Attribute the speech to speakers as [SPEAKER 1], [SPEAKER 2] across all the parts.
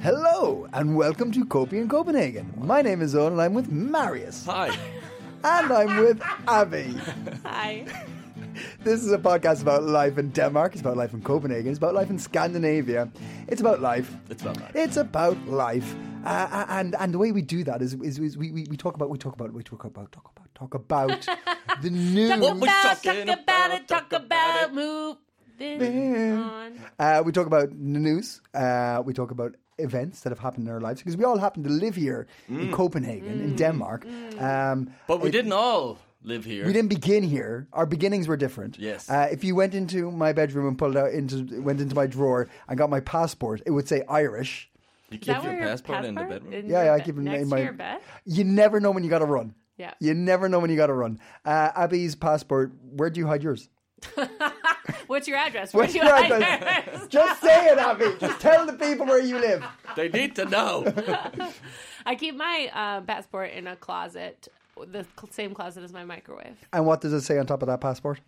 [SPEAKER 1] Hello and welcome to Copy in Copenhagen. My name is Owen and I'm with Marius.
[SPEAKER 2] Hi.
[SPEAKER 1] And I'm with Abby.
[SPEAKER 3] Hi.
[SPEAKER 1] This is a podcast about life in Denmark. It's about life in Copenhagen. It's about life in Scandinavia. It's about life.
[SPEAKER 2] It's about life.
[SPEAKER 1] It's about life. Uh, and and the way we do that is, is, is we, we, we talk about we talk about we talk about talk about talk about the news.
[SPEAKER 3] Talk about,
[SPEAKER 2] we
[SPEAKER 3] talk
[SPEAKER 2] talking
[SPEAKER 3] about
[SPEAKER 2] about?
[SPEAKER 3] it, talk
[SPEAKER 2] Talk
[SPEAKER 3] about
[SPEAKER 2] about
[SPEAKER 3] it, move this
[SPEAKER 1] Yeah.
[SPEAKER 3] on.
[SPEAKER 1] Uh, we talk about the news. Uh, we talk about events that have happened in our lives because we all happen to live here in Copenhagen,
[SPEAKER 3] Mm.
[SPEAKER 1] in Denmark. Um,
[SPEAKER 2] Mm. But we
[SPEAKER 1] it-
[SPEAKER 2] didn't all live here.
[SPEAKER 1] We didn't begin here. Our beginnings were different.
[SPEAKER 2] Yes.
[SPEAKER 1] Uh, if you went into my bedroom and pulled out into went into my drawer and got my passport, it would say Irish.
[SPEAKER 2] You keep
[SPEAKER 3] Is that
[SPEAKER 2] your
[SPEAKER 3] where
[SPEAKER 2] passport, in the bedroom.
[SPEAKER 3] in
[SPEAKER 1] Yeah,
[SPEAKER 3] your
[SPEAKER 1] yeah, I
[SPEAKER 3] bed-
[SPEAKER 1] keep it in
[SPEAKER 3] next
[SPEAKER 1] my-
[SPEAKER 3] to your bed.
[SPEAKER 1] You never know when you got to run.
[SPEAKER 3] Yeah.
[SPEAKER 1] You never know when you got to run. Uh, Abby's passport. Where do you hide yours?
[SPEAKER 3] What's your address?
[SPEAKER 1] What's
[SPEAKER 3] Where
[SPEAKER 1] your
[SPEAKER 3] do I-
[SPEAKER 1] address? Just say it, Abby. Just tell the people where you live.
[SPEAKER 2] they need to know.
[SPEAKER 3] I keep my uh, passport in a closet, the cl- same closet as my microwave.
[SPEAKER 1] And what does it say on top of that passport?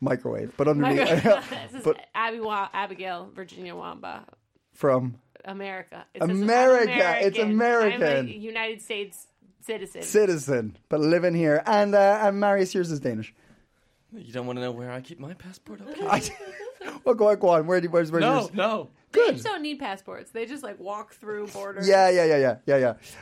[SPEAKER 1] Microwave. But underneath,
[SPEAKER 3] this is
[SPEAKER 1] But-
[SPEAKER 3] Abby Wa- Abigail Virginia Wamba,
[SPEAKER 1] from
[SPEAKER 3] America. It says I'm
[SPEAKER 1] America. It's
[SPEAKER 3] I'm
[SPEAKER 1] American.
[SPEAKER 3] a United States citizen.
[SPEAKER 1] citizen, but living here. And uh, and Marius, yours is Danish.
[SPEAKER 2] you don't want to know where I keep my passport? Okay.
[SPEAKER 1] I, well, go on, go on. Where, do- where's, where's
[SPEAKER 2] no,
[SPEAKER 1] yours?
[SPEAKER 2] no.
[SPEAKER 3] they just don't need passports. They just like walk through borders.
[SPEAKER 1] Yeah, yeah, yeah, yeah, yeah,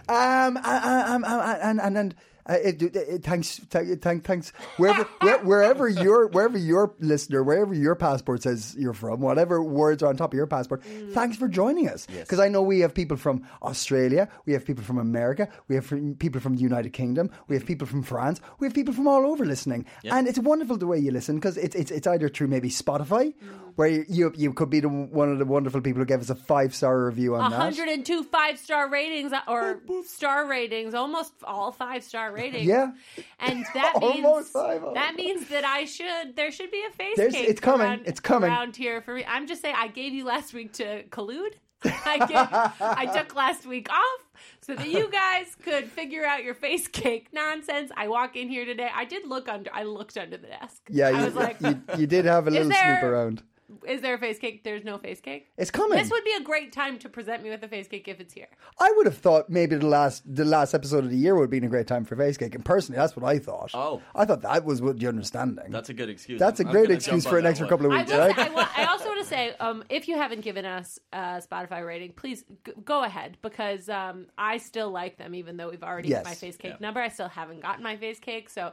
[SPEAKER 1] yeah. Um, um, um, um, and and and. Uh, it, it, it, thanks, th- thank, thanks. Wherever, where, wherever your, wherever your listener, wherever your passport says you're from, whatever words are on top of your passport. Thanks for joining us, because I know we have people from Australia, we have people from America, we have from people from the United Kingdom, we have people from France, we have people from all over listening, and it's wonderful the way you listen because it's it's it's either through maybe Spotify, where you, you you could be the, one of the wonderful people who gave us a five star review on that.
[SPEAKER 3] 102 five star ratings or star ratings, almost all five star ratings.
[SPEAKER 1] Yeah.
[SPEAKER 3] and that means
[SPEAKER 1] Almost five, almost.
[SPEAKER 3] that means that I should there should be a face
[SPEAKER 1] There's-
[SPEAKER 3] cake.
[SPEAKER 1] it's coming,
[SPEAKER 3] around-
[SPEAKER 1] it's coming.
[SPEAKER 3] around here for me. I'm just saying I gave you last week to collude. I gave, I took last week off so that you guys could figure out your face cake nonsense. I walk in here today. I did look under. I looked under the desk.
[SPEAKER 1] Yeah,
[SPEAKER 3] I
[SPEAKER 1] you,
[SPEAKER 3] was like,
[SPEAKER 1] you, you did have a little snoop
[SPEAKER 3] there-
[SPEAKER 1] around.
[SPEAKER 3] "Is there a face cake? There's no face cake."
[SPEAKER 1] It's coming.
[SPEAKER 3] This would be a great time to present me with a face cake if it's here.
[SPEAKER 1] I would have thought maybe the last the last episode of the year would have been a great time for face cake, and personally, that's what I thought.
[SPEAKER 2] Oh.
[SPEAKER 1] I thought that was what the understanding.
[SPEAKER 2] That's a good excuse.
[SPEAKER 1] That's a
[SPEAKER 2] I'm
[SPEAKER 1] great
[SPEAKER 2] gonna
[SPEAKER 1] excuse
[SPEAKER 2] jump
[SPEAKER 1] for
[SPEAKER 2] on
[SPEAKER 1] an
[SPEAKER 2] that
[SPEAKER 1] extra
[SPEAKER 2] one.
[SPEAKER 1] couple of
[SPEAKER 3] I,
[SPEAKER 1] weeks,
[SPEAKER 3] will say,
[SPEAKER 1] right?
[SPEAKER 3] I, wa- I also want to say, um, if you haven't given us a Spotify rating, please g- go ahead because um, I still like them, even though we've already
[SPEAKER 1] Yes.
[SPEAKER 3] hit my face cake number. I still haven't gotten my face cake, so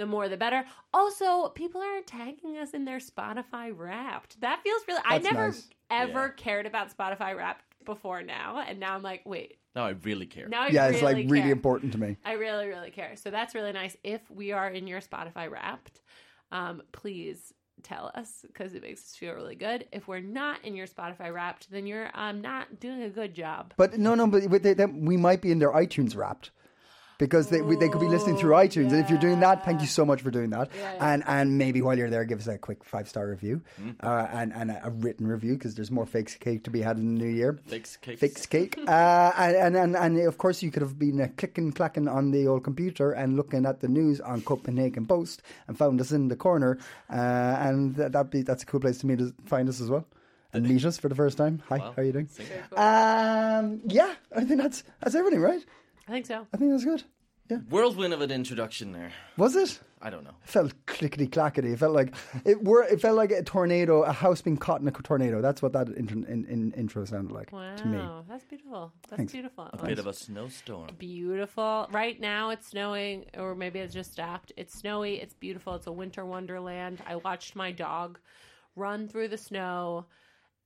[SPEAKER 3] the more the better. Also, people are tagging us in their Spotify Wrapped. That feels really. I
[SPEAKER 1] That's
[SPEAKER 3] never
[SPEAKER 1] nice.
[SPEAKER 3] ever
[SPEAKER 2] Yeah.
[SPEAKER 3] cared about Spotify Wrapped before now, and now I'm like, wait,
[SPEAKER 2] Now I really care.
[SPEAKER 3] now I
[SPEAKER 1] yeah,
[SPEAKER 3] really
[SPEAKER 1] it's like really
[SPEAKER 3] care.
[SPEAKER 1] important to me.
[SPEAKER 3] I really, really care. So that's really nice. If we are in your Spotify wrapped, um, please tell us because it makes us feel really good. If we're not in your Spotify wrapped, then you're um, not doing a good job.
[SPEAKER 1] But no, no, but they, they, we might be in their iTunes wrapped. Because they, we, they could be listening
[SPEAKER 3] Oh,
[SPEAKER 1] through iTunes, and if you're doing that, thank you so much for doing that. And and maybe while you're there, give us a quick five star review,
[SPEAKER 2] Mm.
[SPEAKER 1] uh, and and a, a written review because there's more fake cake to be had in the new year.
[SPEAKER 2] Fix cakes.
[SPEAKER 1] fix cake. Uh, and, and, and, and of course, you could have been uh, clicking, clacking on the old computer and looking at the news on Copenhagen Post and found us in the corner. Uh, and that, that'd be, that's a cool place to meet us, find us as well. And meet us for the first time. Hi, how are you doing? Um, yeah, I think that's that's everything, right?
[SPEAKER 3] I think so.
[SPEAKER 1] I think that's good.
[SPEAKER 2] Whirlwind of an introduction there.
[SPEAKER 1] Was it?
[SPEAKER 2] I don't know.
[SPEAKER 1] It felt clickety clackety. It felt like it were. It felt like a tornado, a house being caught in a tornado. That's what that intro, in, in, intro sounded like
[SPEAKER 3] Wow,
[SPEAKER 1] to me.
[SPEAKER 3] that's beautiful. That's
[SPEAKER 1] Thanks.
[SPEAKER 3] beautiful.
[SPEAKER 2] Bit of a snowstorm.
[SPEAKER 3] Beautiful. Right now it's snowing, or maybe it's just stopped. It's snowy. It's beautiful. It's a winter wonderland. I watched my dog run through the snow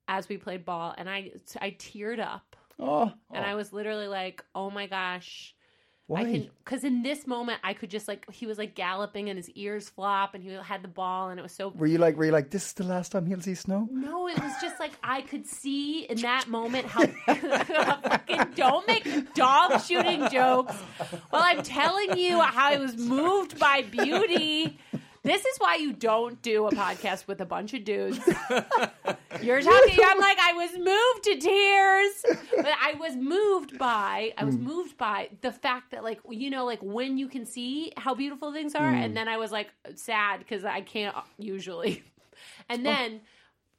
[SPEAKER 3] as we played ball, and I I teared up.
[SPEAKER 1] Oh,
[SPEAKER 3] And I was literally like, oh my gosh.
[SPEAKER 1] Why?
[SPEAKER 3] I can because in this moment I could just like he was like galloping and his ears flop and he had the ball and it was so
[SPEAKER 1] were you like, were you like, this is the last time he'll see snow?
[SPEAKER 3] no, it was just like I could see in that moment how fucking don't make dog shooting jokes. Well, I'm telling you how I was moved by beauty. This is why you don't do a podcast with a bunch of dudes. You're talking. I'm like I was moved to tears, but I was moved by I was moved by the fact that like you know like when you can see how beautiful things are, and then I was like sad because I can't uh, usually, and then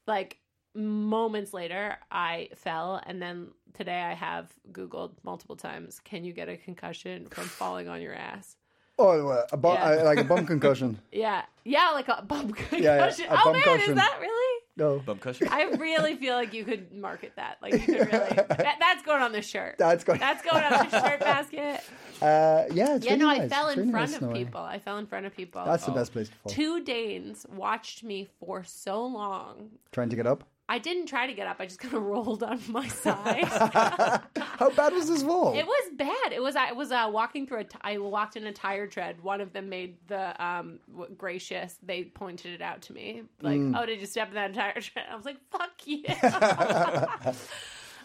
[SPEAKER 3] like moments later i fell and then today i have googled multiple times can you get a concussion from falling on your ass
[SPEAKER 1] Oh, uh, a bu-
[SPEAKER 3] Yeah.
[SPEAKER 1] uh, like a bum concussion.
[SPEAKER 3] yeah yeah like a bump concussion
[SPEAKER 1] yeah, a
[SPEAKER 3] oh
[SPEAKER 1] bump
[SPEAKER 3] man
[SPEAKER 1] cushion.
[SPEAKER 3] is that really
[SPEAKER 1] No,
[SPEAKER 2] Bum cushion.
[SPEAKER 3] i really feel like you could market that like you could really that, that's going on the shirt
[SPEAKER 1] that's going.
[SPEAKER 3] that's going on the shirt basket
[SPEAKER 1] Uh, yeah, it's
[SPEAKER 3] yeah
[SPEAKER 1] really
[SPEAKER 3] no
[SPEAKER 1] nice.
[SPEAKER 3] i fell
[SPEAKER 1] It's
[SPEAKER 3] in
[SPEAKER 1] really
[SPEAKER 3] front
[SPEAKER 1] nice
[SPEAKER 3] of
[SPEAKER 1] snow, eh?
[SPEAKER 3] people i fell in front of people
[SPEAKER 1] That's the best place to fall.
[SPEAKER 3] two danes watched me for so long
[SPEAKER 1] Trying to get up.
[SPEAKER 3] i didn't try to get up i just kind of rolled on my side
[SPEAKER 1] How bad was this fall?
[SPEAKER 3] It was bad. It was I was uh, walking through a t- I walked in a tire tread. One of them made the um w- gracious. They pointed it out to me like, "Oh, did you step in that tire tread?" I was like, "Fuck you."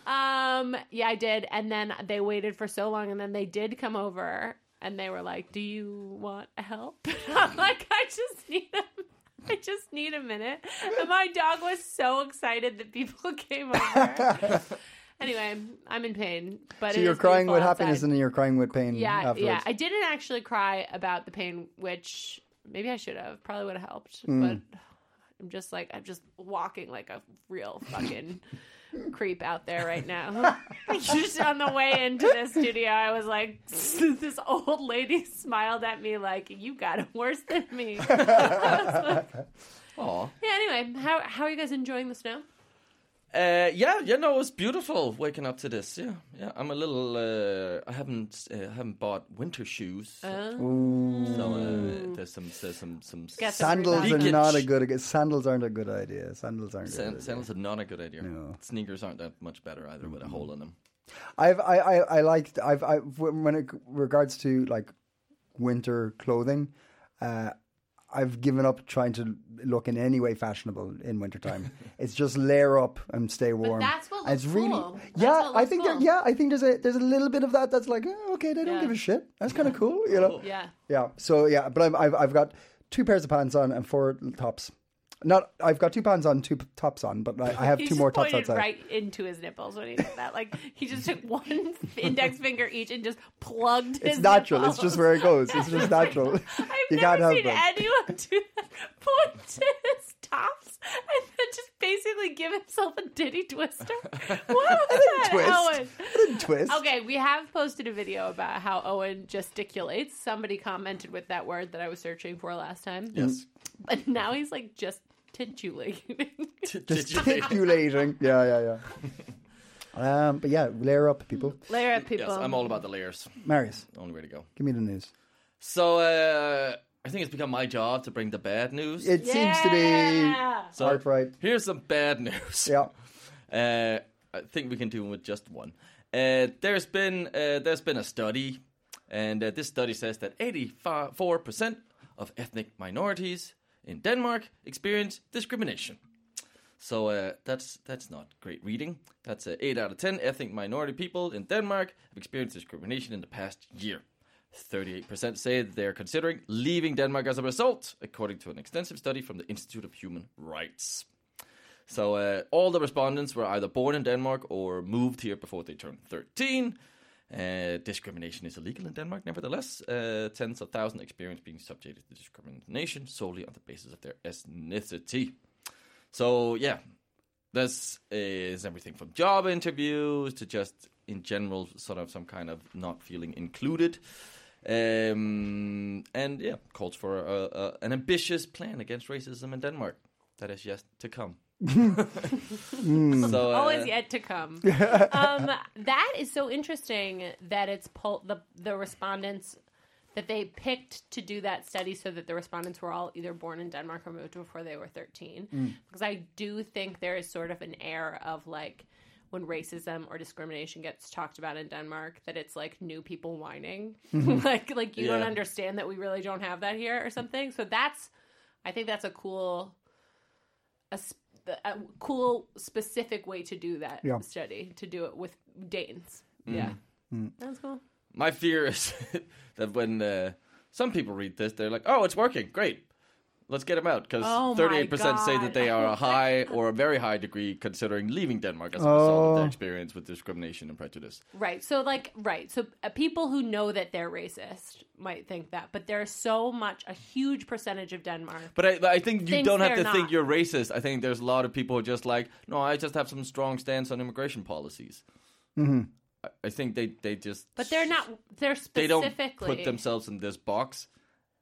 [SPEAKER 3] um yeah, I did. And then they waited for so long and then they did come over and they were like, "Do you want help?" I'm like, "I just need a I just need a minute. And my dog was so excited that people came over. anyway, I'm in pain. But
[SPEAKER 1] so
[SPEAKER 3] it
[SPEAKER 1] you're
[SPEAKER 3] is
[SPEAKER 1] crying
[SPEAKER 3] beautiful
[SPEAKER 1] with happiness
[SPEAKER 3] outside.
[SPEAKER 1] and then you're crying with pain
[SPEAKER 3] yeah,
[SPEAKER 1] afterwards.
[SPEAKER 3] yeah. I didn't actually cry about the pain, which maybe I should have. Probably would have helped.
[SPEAKER 1] Hmm.
[SPEAKER 3] But I'm just like I'm just walking like a real fucking creep out there right now. just on the way into the studio, I was like, this old lady smiled at me like, "You got it worse than me."
[SPEAKER 2] Aw.
[SPEAKER 3] Yeah, anyway, how how are you guys enjoying the snow?
[SPEAKER 2] Uh, yeah, yeah, no, it was beautiful waking up to this. Yeah, yeah. I'm a little. Uh, I haven't. Uh, haven't bought winter shoes. So
[SPEAKER 3] Oh.
[SPEAKER 2] uh, there's some. There's some. Some.
[SPEAKER 3] Guess
[SPEAKER 2] sand-
[SPEAKER 1] Sandals are
[SPEAKER 2] Leakage.
[SPEAKER 1] not a good. Sandals aren't a good idea. Sandals aren't. A good idea.
[SPEAKER 2] Sandals are not a good idea. Sneakers aren't that much better either, with a hole in them.
[SPEAKER 1] I've I I, I liked I've I when it regards to like winter clothing, uh, I've given up trying to look in any way fashionable in wintertime. it's just layer up and stay warm.
[SPEAKER 3] that's what
[SPEAKER 1] And it's
[SPEAKER 3] looks
[SPEAKER 1] really
[SPEAKER 3] cool. That's
[SPEAKER 1] yeah.
[SPEAKER 3] what
[SPEAKER 1] I
[SPEAKER 3] looks
[SPEAKER 1] think there,
[SPEAKER 3] cool.
[SPEAKER 1] yeah. I think there's a there's a little bit of that that's like oh, okay they don't
[SPEAKER 3] Yeah.
[SPEAKER 1] give a shit. That's kind of cool, you know.
[SPEAKER 3] Yeah.
[SPEAKER 1] Yeah. So yeah, but I've, I've I've got two pairs of pants on and four tops. Not I've got two pants on, two p- tops on, but I, I have
[SPEAKER 3] He
[SPEAKER 1] two
[SPEAKER 3] just
[SPEAKER 1] more tops
[SPEAKER 3] pointed
[SPEAKER 1] outside.
[SPEAKER 3] right into his nipples when he did that. Like he just took one index finger each and just plugged his.
[SPEAKER 1] It's natural. It's
[SPEAKER 3] nipples.
[SPEAKER 1] just where it goes. It's just natural.
[SPEAKER 3] I've
[SPEAKER 1] you can't
[SPEAKER 3] never
[SPEAKER 1] help
[SPEAKER 3] seen
[SPEAKER 1] it.
[SPEAKER 3] anyone do that. Point to his tops and then just basically give himself a ditty twister. What was that,
[SPEAKER 1] twist.
[SPEAKER 3] Owen?
[SPEAKER 1] Twist.
[SPEAKER 3] Okay, we have posted a video about how Owen gesticulates. Somebody commented with that word that I was searching for last time.
[SPEAKER 2] Yes.
[SPEAKER 3] But now he's like just titulating.
[SPEAKER 1] Gesticulating. yeah, yeah, yeah. Um, but yeah, layer up, people.
[SPEAKER 3] Layer up people.
[SPEAKER 2] Yes, I'm all about the layers.
[SPEAKER 1] Marius,
[SPEAKER 2] Only way to go.
[SPEAKER 1] give me the news.
[SPEAKER 2] So uh, I think it's become my job to bring the bad news.
[SPEAKER 1] It seems to be
[SPEAKER 3] Yeah.
[SPEAKER 2] so
[SPEAKER 1] outright.
[SPEAKER 2] Here's some bad news.
[SPEAKER 1] yeah.
[SPEAKER 2] Uh, I think we can do with just one. Uh, there's been uh, there's been a study, and uh, this study says that 84 percent of ethnic minorities in Denmark experience discrimination. So uh, that's that's not great reading. That's uh, eight out of ten ethnic minority people in Denmark have experienced discrimination in the past year. Thirty-eight percent say that they are considering leaving Denmark as a result, according to an extensive study from the Institute of Human Rights. So uh, all the respondents were either born in Denmark or moved here before they turned 13. Uh, discrimination is illegal in Denmark, nevertheless. Uh, tens of thousands experience being subjected to discrimination solely on the basis of their ethnicity. So yeah, this is everything from job interviews to just in general, sort of some kind of not feeling included. Um, and yeah, calls for a, a, an ambitious plan against racism in Denmark that is yet to come. So, uh,
[SPEAKER 3] Always yet to come. um, that is so interesting that it's pol- the the respondents that they picked to do that study so that the respondents were all either born in Denmark Mm. or moved before they were 13 because I do think there is sort of an air of like when racism or discrimination gets talked about in Denmark that it's like new people whining. like like you don't
[SPEAKER 2] Yeah.
[SPEAKER 3] understand that we really don't have that here or something. So that's I think that's a cool a, sp- a cool specific way to do that
[SPEAKER 1] Yeah.
[SPEAKER 3] study to do it with Danes.
[SPEAKER 2] Mm.
[SPEAKER 3] Yeah. That's cool.
[SPEAKER 2] My fear is that when uh, some people read this, they're like, "Oh, it's working, great, let's get them out," because
[SPEAKER 3] Oh my
[SPEAKER 2] thirty-eight percent say that
[SPEAKER 3] God.
[SPEAKER 2] they are a high or a very high degree considering leaving Denmark as a result of their experience with discrimination and prejudice.
[SPEAKER 3] Right. So like right. So uh, people who know that they're racist might think that, but there's so much a huge percentage of Denmark.
[SPEAKER 2] But I, but I think you
[SPEAKER 3] Thinks
[SPEAKER 2] don't have to
[SPEAKER 3] they're
[SPEAKER 2] think
[SPEAKER 3] not.
[SPEAKER 2] you're racist. I think there's a lot of people who are just like, no, I just have some strong stance on immigration policies. I, I think they, they just
[SPEAKER 3] But they're not they're
[SPEAKER 2] they
[SPEAKER 3] specifically
[SPEAKER 2] don't put themselves in this box.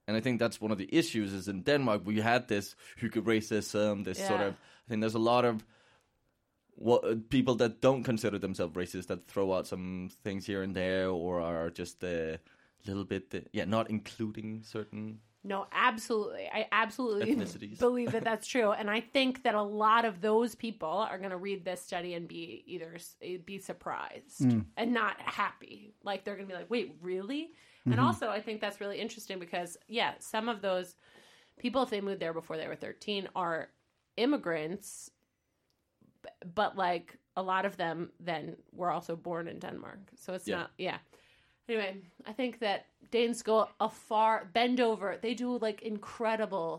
[SPEAKER 2] And I think that's one of the issues is in Denmark we had this hygge racism, this sort
[SPEAKER 3] Yeah.
[SPEAKER 2] of I think there's a lot of what uh, people that don't consider themselves racist that throw out some things here and there or are just a little bit uh, yeah not including certain
[SPEAKER 3] No, absolutely. I absolutely
[SPEAKER 2] Ethnicities.
[SPEAKER 3] believe that that's true, and I think that a lot of those people are going to read this study and be either s- be surprised
[SPEAKER 2] Hmm.
[SPEAKER 3] and not happy. Like they're going to be like, "Wait, really?" And
[SPEAKER 2] Mm-hmm.
[SPEAKER 3] also, I think that's really interesting because yeah, some of those people, if they moved there before they were thirteen, are immigrants, b- but like a lot of them then were also born in Denmark, so it's
[SPEAKER 2] Yeah.
[SPEAKER 3] not yeah. Anyway, I think that Danes go a far bend over. They do like incredible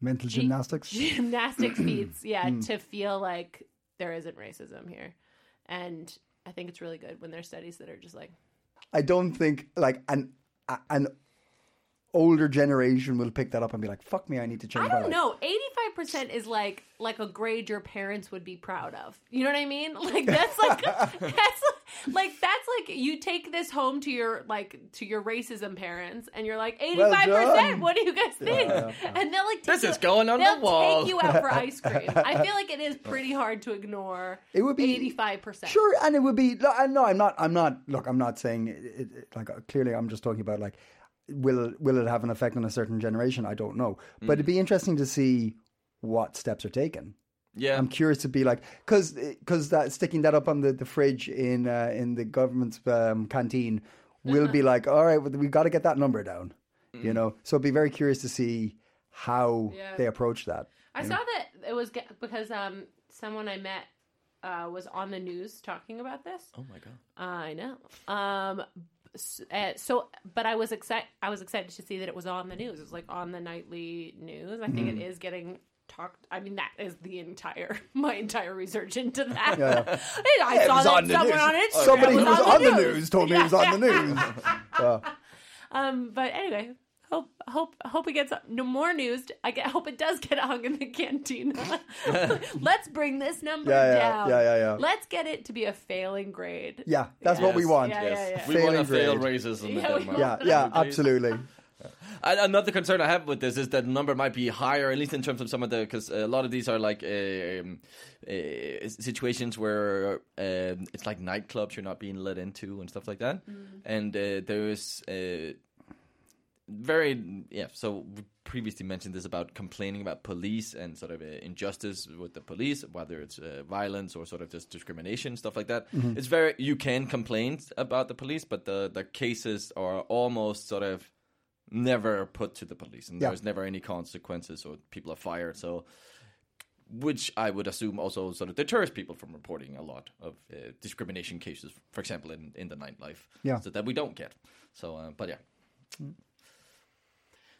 [SPEAKER 1] Mental gymnastics.
[SPEAKER 3] gymnastic feats, yeah, to feel like there isn't racism here. And I think it's really good when there's studies that are just like,
[SPEAKER 1] I don't think like an a- an older generation will pick that up and be like, "Fuck me, I need to change."
[SPEAKER 3] I
[SPEAKER 1] my
[SPEAKER 3] don't
[SPEAKER 1] life."
[SPEAKER 3] know, 85% is like like a grade your parents would be proud of. You know what I mean? Like that's like that's like, like that's like you take this home to your like to your racism parents and you're like 85%,
[SPEAKER 1] done.
[SPEAKER 3] what do you guys think? And they'll like
[SPEAKER 2] This
[SPEAKER 3] take you-
[SPEAKER 2] is going on the
[SPEAKER 3] they'll
[SPEAKER 2] wall.
[SPEAKER 3] take you out for ice cream. I feel like it is pretty hard to ignore.
[SPEAKER 1] It would be
[SPEAKER 3] 85%.
[SPEAKER 1] Sure, and it would be. No, I- no, I'm not. I'm not. Look, I'm not saying it, it, it- like uh, clearly. I'm just talking about like will will it have an effect on a certain generation? I don't know, but it'd be interesting to see what steps are taken.
[SPEAKER 2] yeah
[SPEAKER 1] I'm curious to be like because because that sticking that up on the, the fridge in uh, in the government's um, canteen will be like all right we've got to get that number down you know so I'd be very curious to see how
[SPEAKER 3] Yeah.
[SPEAKER 1] they approach that
[SPEAKER 3] I saw that it was ge- because um someone I met uh, was on the news talking about this.
[SPEAKER 2] oh my god
[SPEAKER 3] I know. Um, s- uh, so, but I was excited. I was excited to see that it was on the news. It was like on the nightly news. I think
[SPEAKER 1] Mm-hmm.
[SPEAKER 3] it is getting talked. I mean, that is the entire my entire research into that. I
[SPEAKER 1] It
[SPEAKER 3] saw
[SPEAKER 1] was
[SPEAKER 3] that
[SPEAKER 1] on the news.
[SPEAKER 3] somewhere
[SPEAKER 1] Oh,
[SPEAKER 3] on Instagram.
[SPEAKER 1] somebody
[SPEAKER 3] was
[SPEAKER 1] who was on the news, told me it was
[SPEAKER 3] Yeah.
[SPEAKER 1] on the news
[SPEAKER 3] Um, but anyway, hope hope hope it gets no more news. I get, hope it does get hung in the cantina. Let's bring this number
[SPEAKER 1] Yeah, yeah,
[SPEAKER 3] down.
[SPEAKER 1] yeah, yeah, yeah.
[SPEAKER 3] Let's get it to be a failing grade.
[SPEAKER 1] yeah that's what we
[SPEAKER 2] Yes.
[SPEAKER 1] want
[SPEAKER 3] Yeah,
[SPEAKER 2] yes
[SPEAKER 3] yeah, yeah.
[SPEAKER 2] we want to
[SPEAKER 1] Failing
[SPEAKER 2] fail
[SPEAKER 1] grade.
[SPEAKER 2] racism in
[SPEAKER 3] Yeah, we
[SPEAKER 2] Denmark
[SPEAKER 1] yeah yeah absolutely
[SPEAKER 2] I, another concern I have with this is that the number might be higher, at least in terms of some of the, because a lot of these are like um, uh, situations where um, it's like nightclubs you're not being let into and stuff like that. And uh, there is uh, very, yeah, so we previously mentioned this about complaining about police and sort of uh, injustice with the police, whether it's uh, violence or sort of just discrimination, stuff like that.
[SPEAKER 1] Mm-hmm.
[SPEAKER 2] It's very, you can complain about the police, but the, the cases are almost sort of never put to the police, and
[SPEAKER 1] Yeah.
[SPEAKER 2] there's never any consequences, or people are fired. So, which I would assume also sort of deters people from reporting a lot of uh, discrimination cases, for example, in, in the nightlife.
[SPEAKER 1] Yeah.
[SPEAKER 2] So that we don't get. So, uh, but yeah.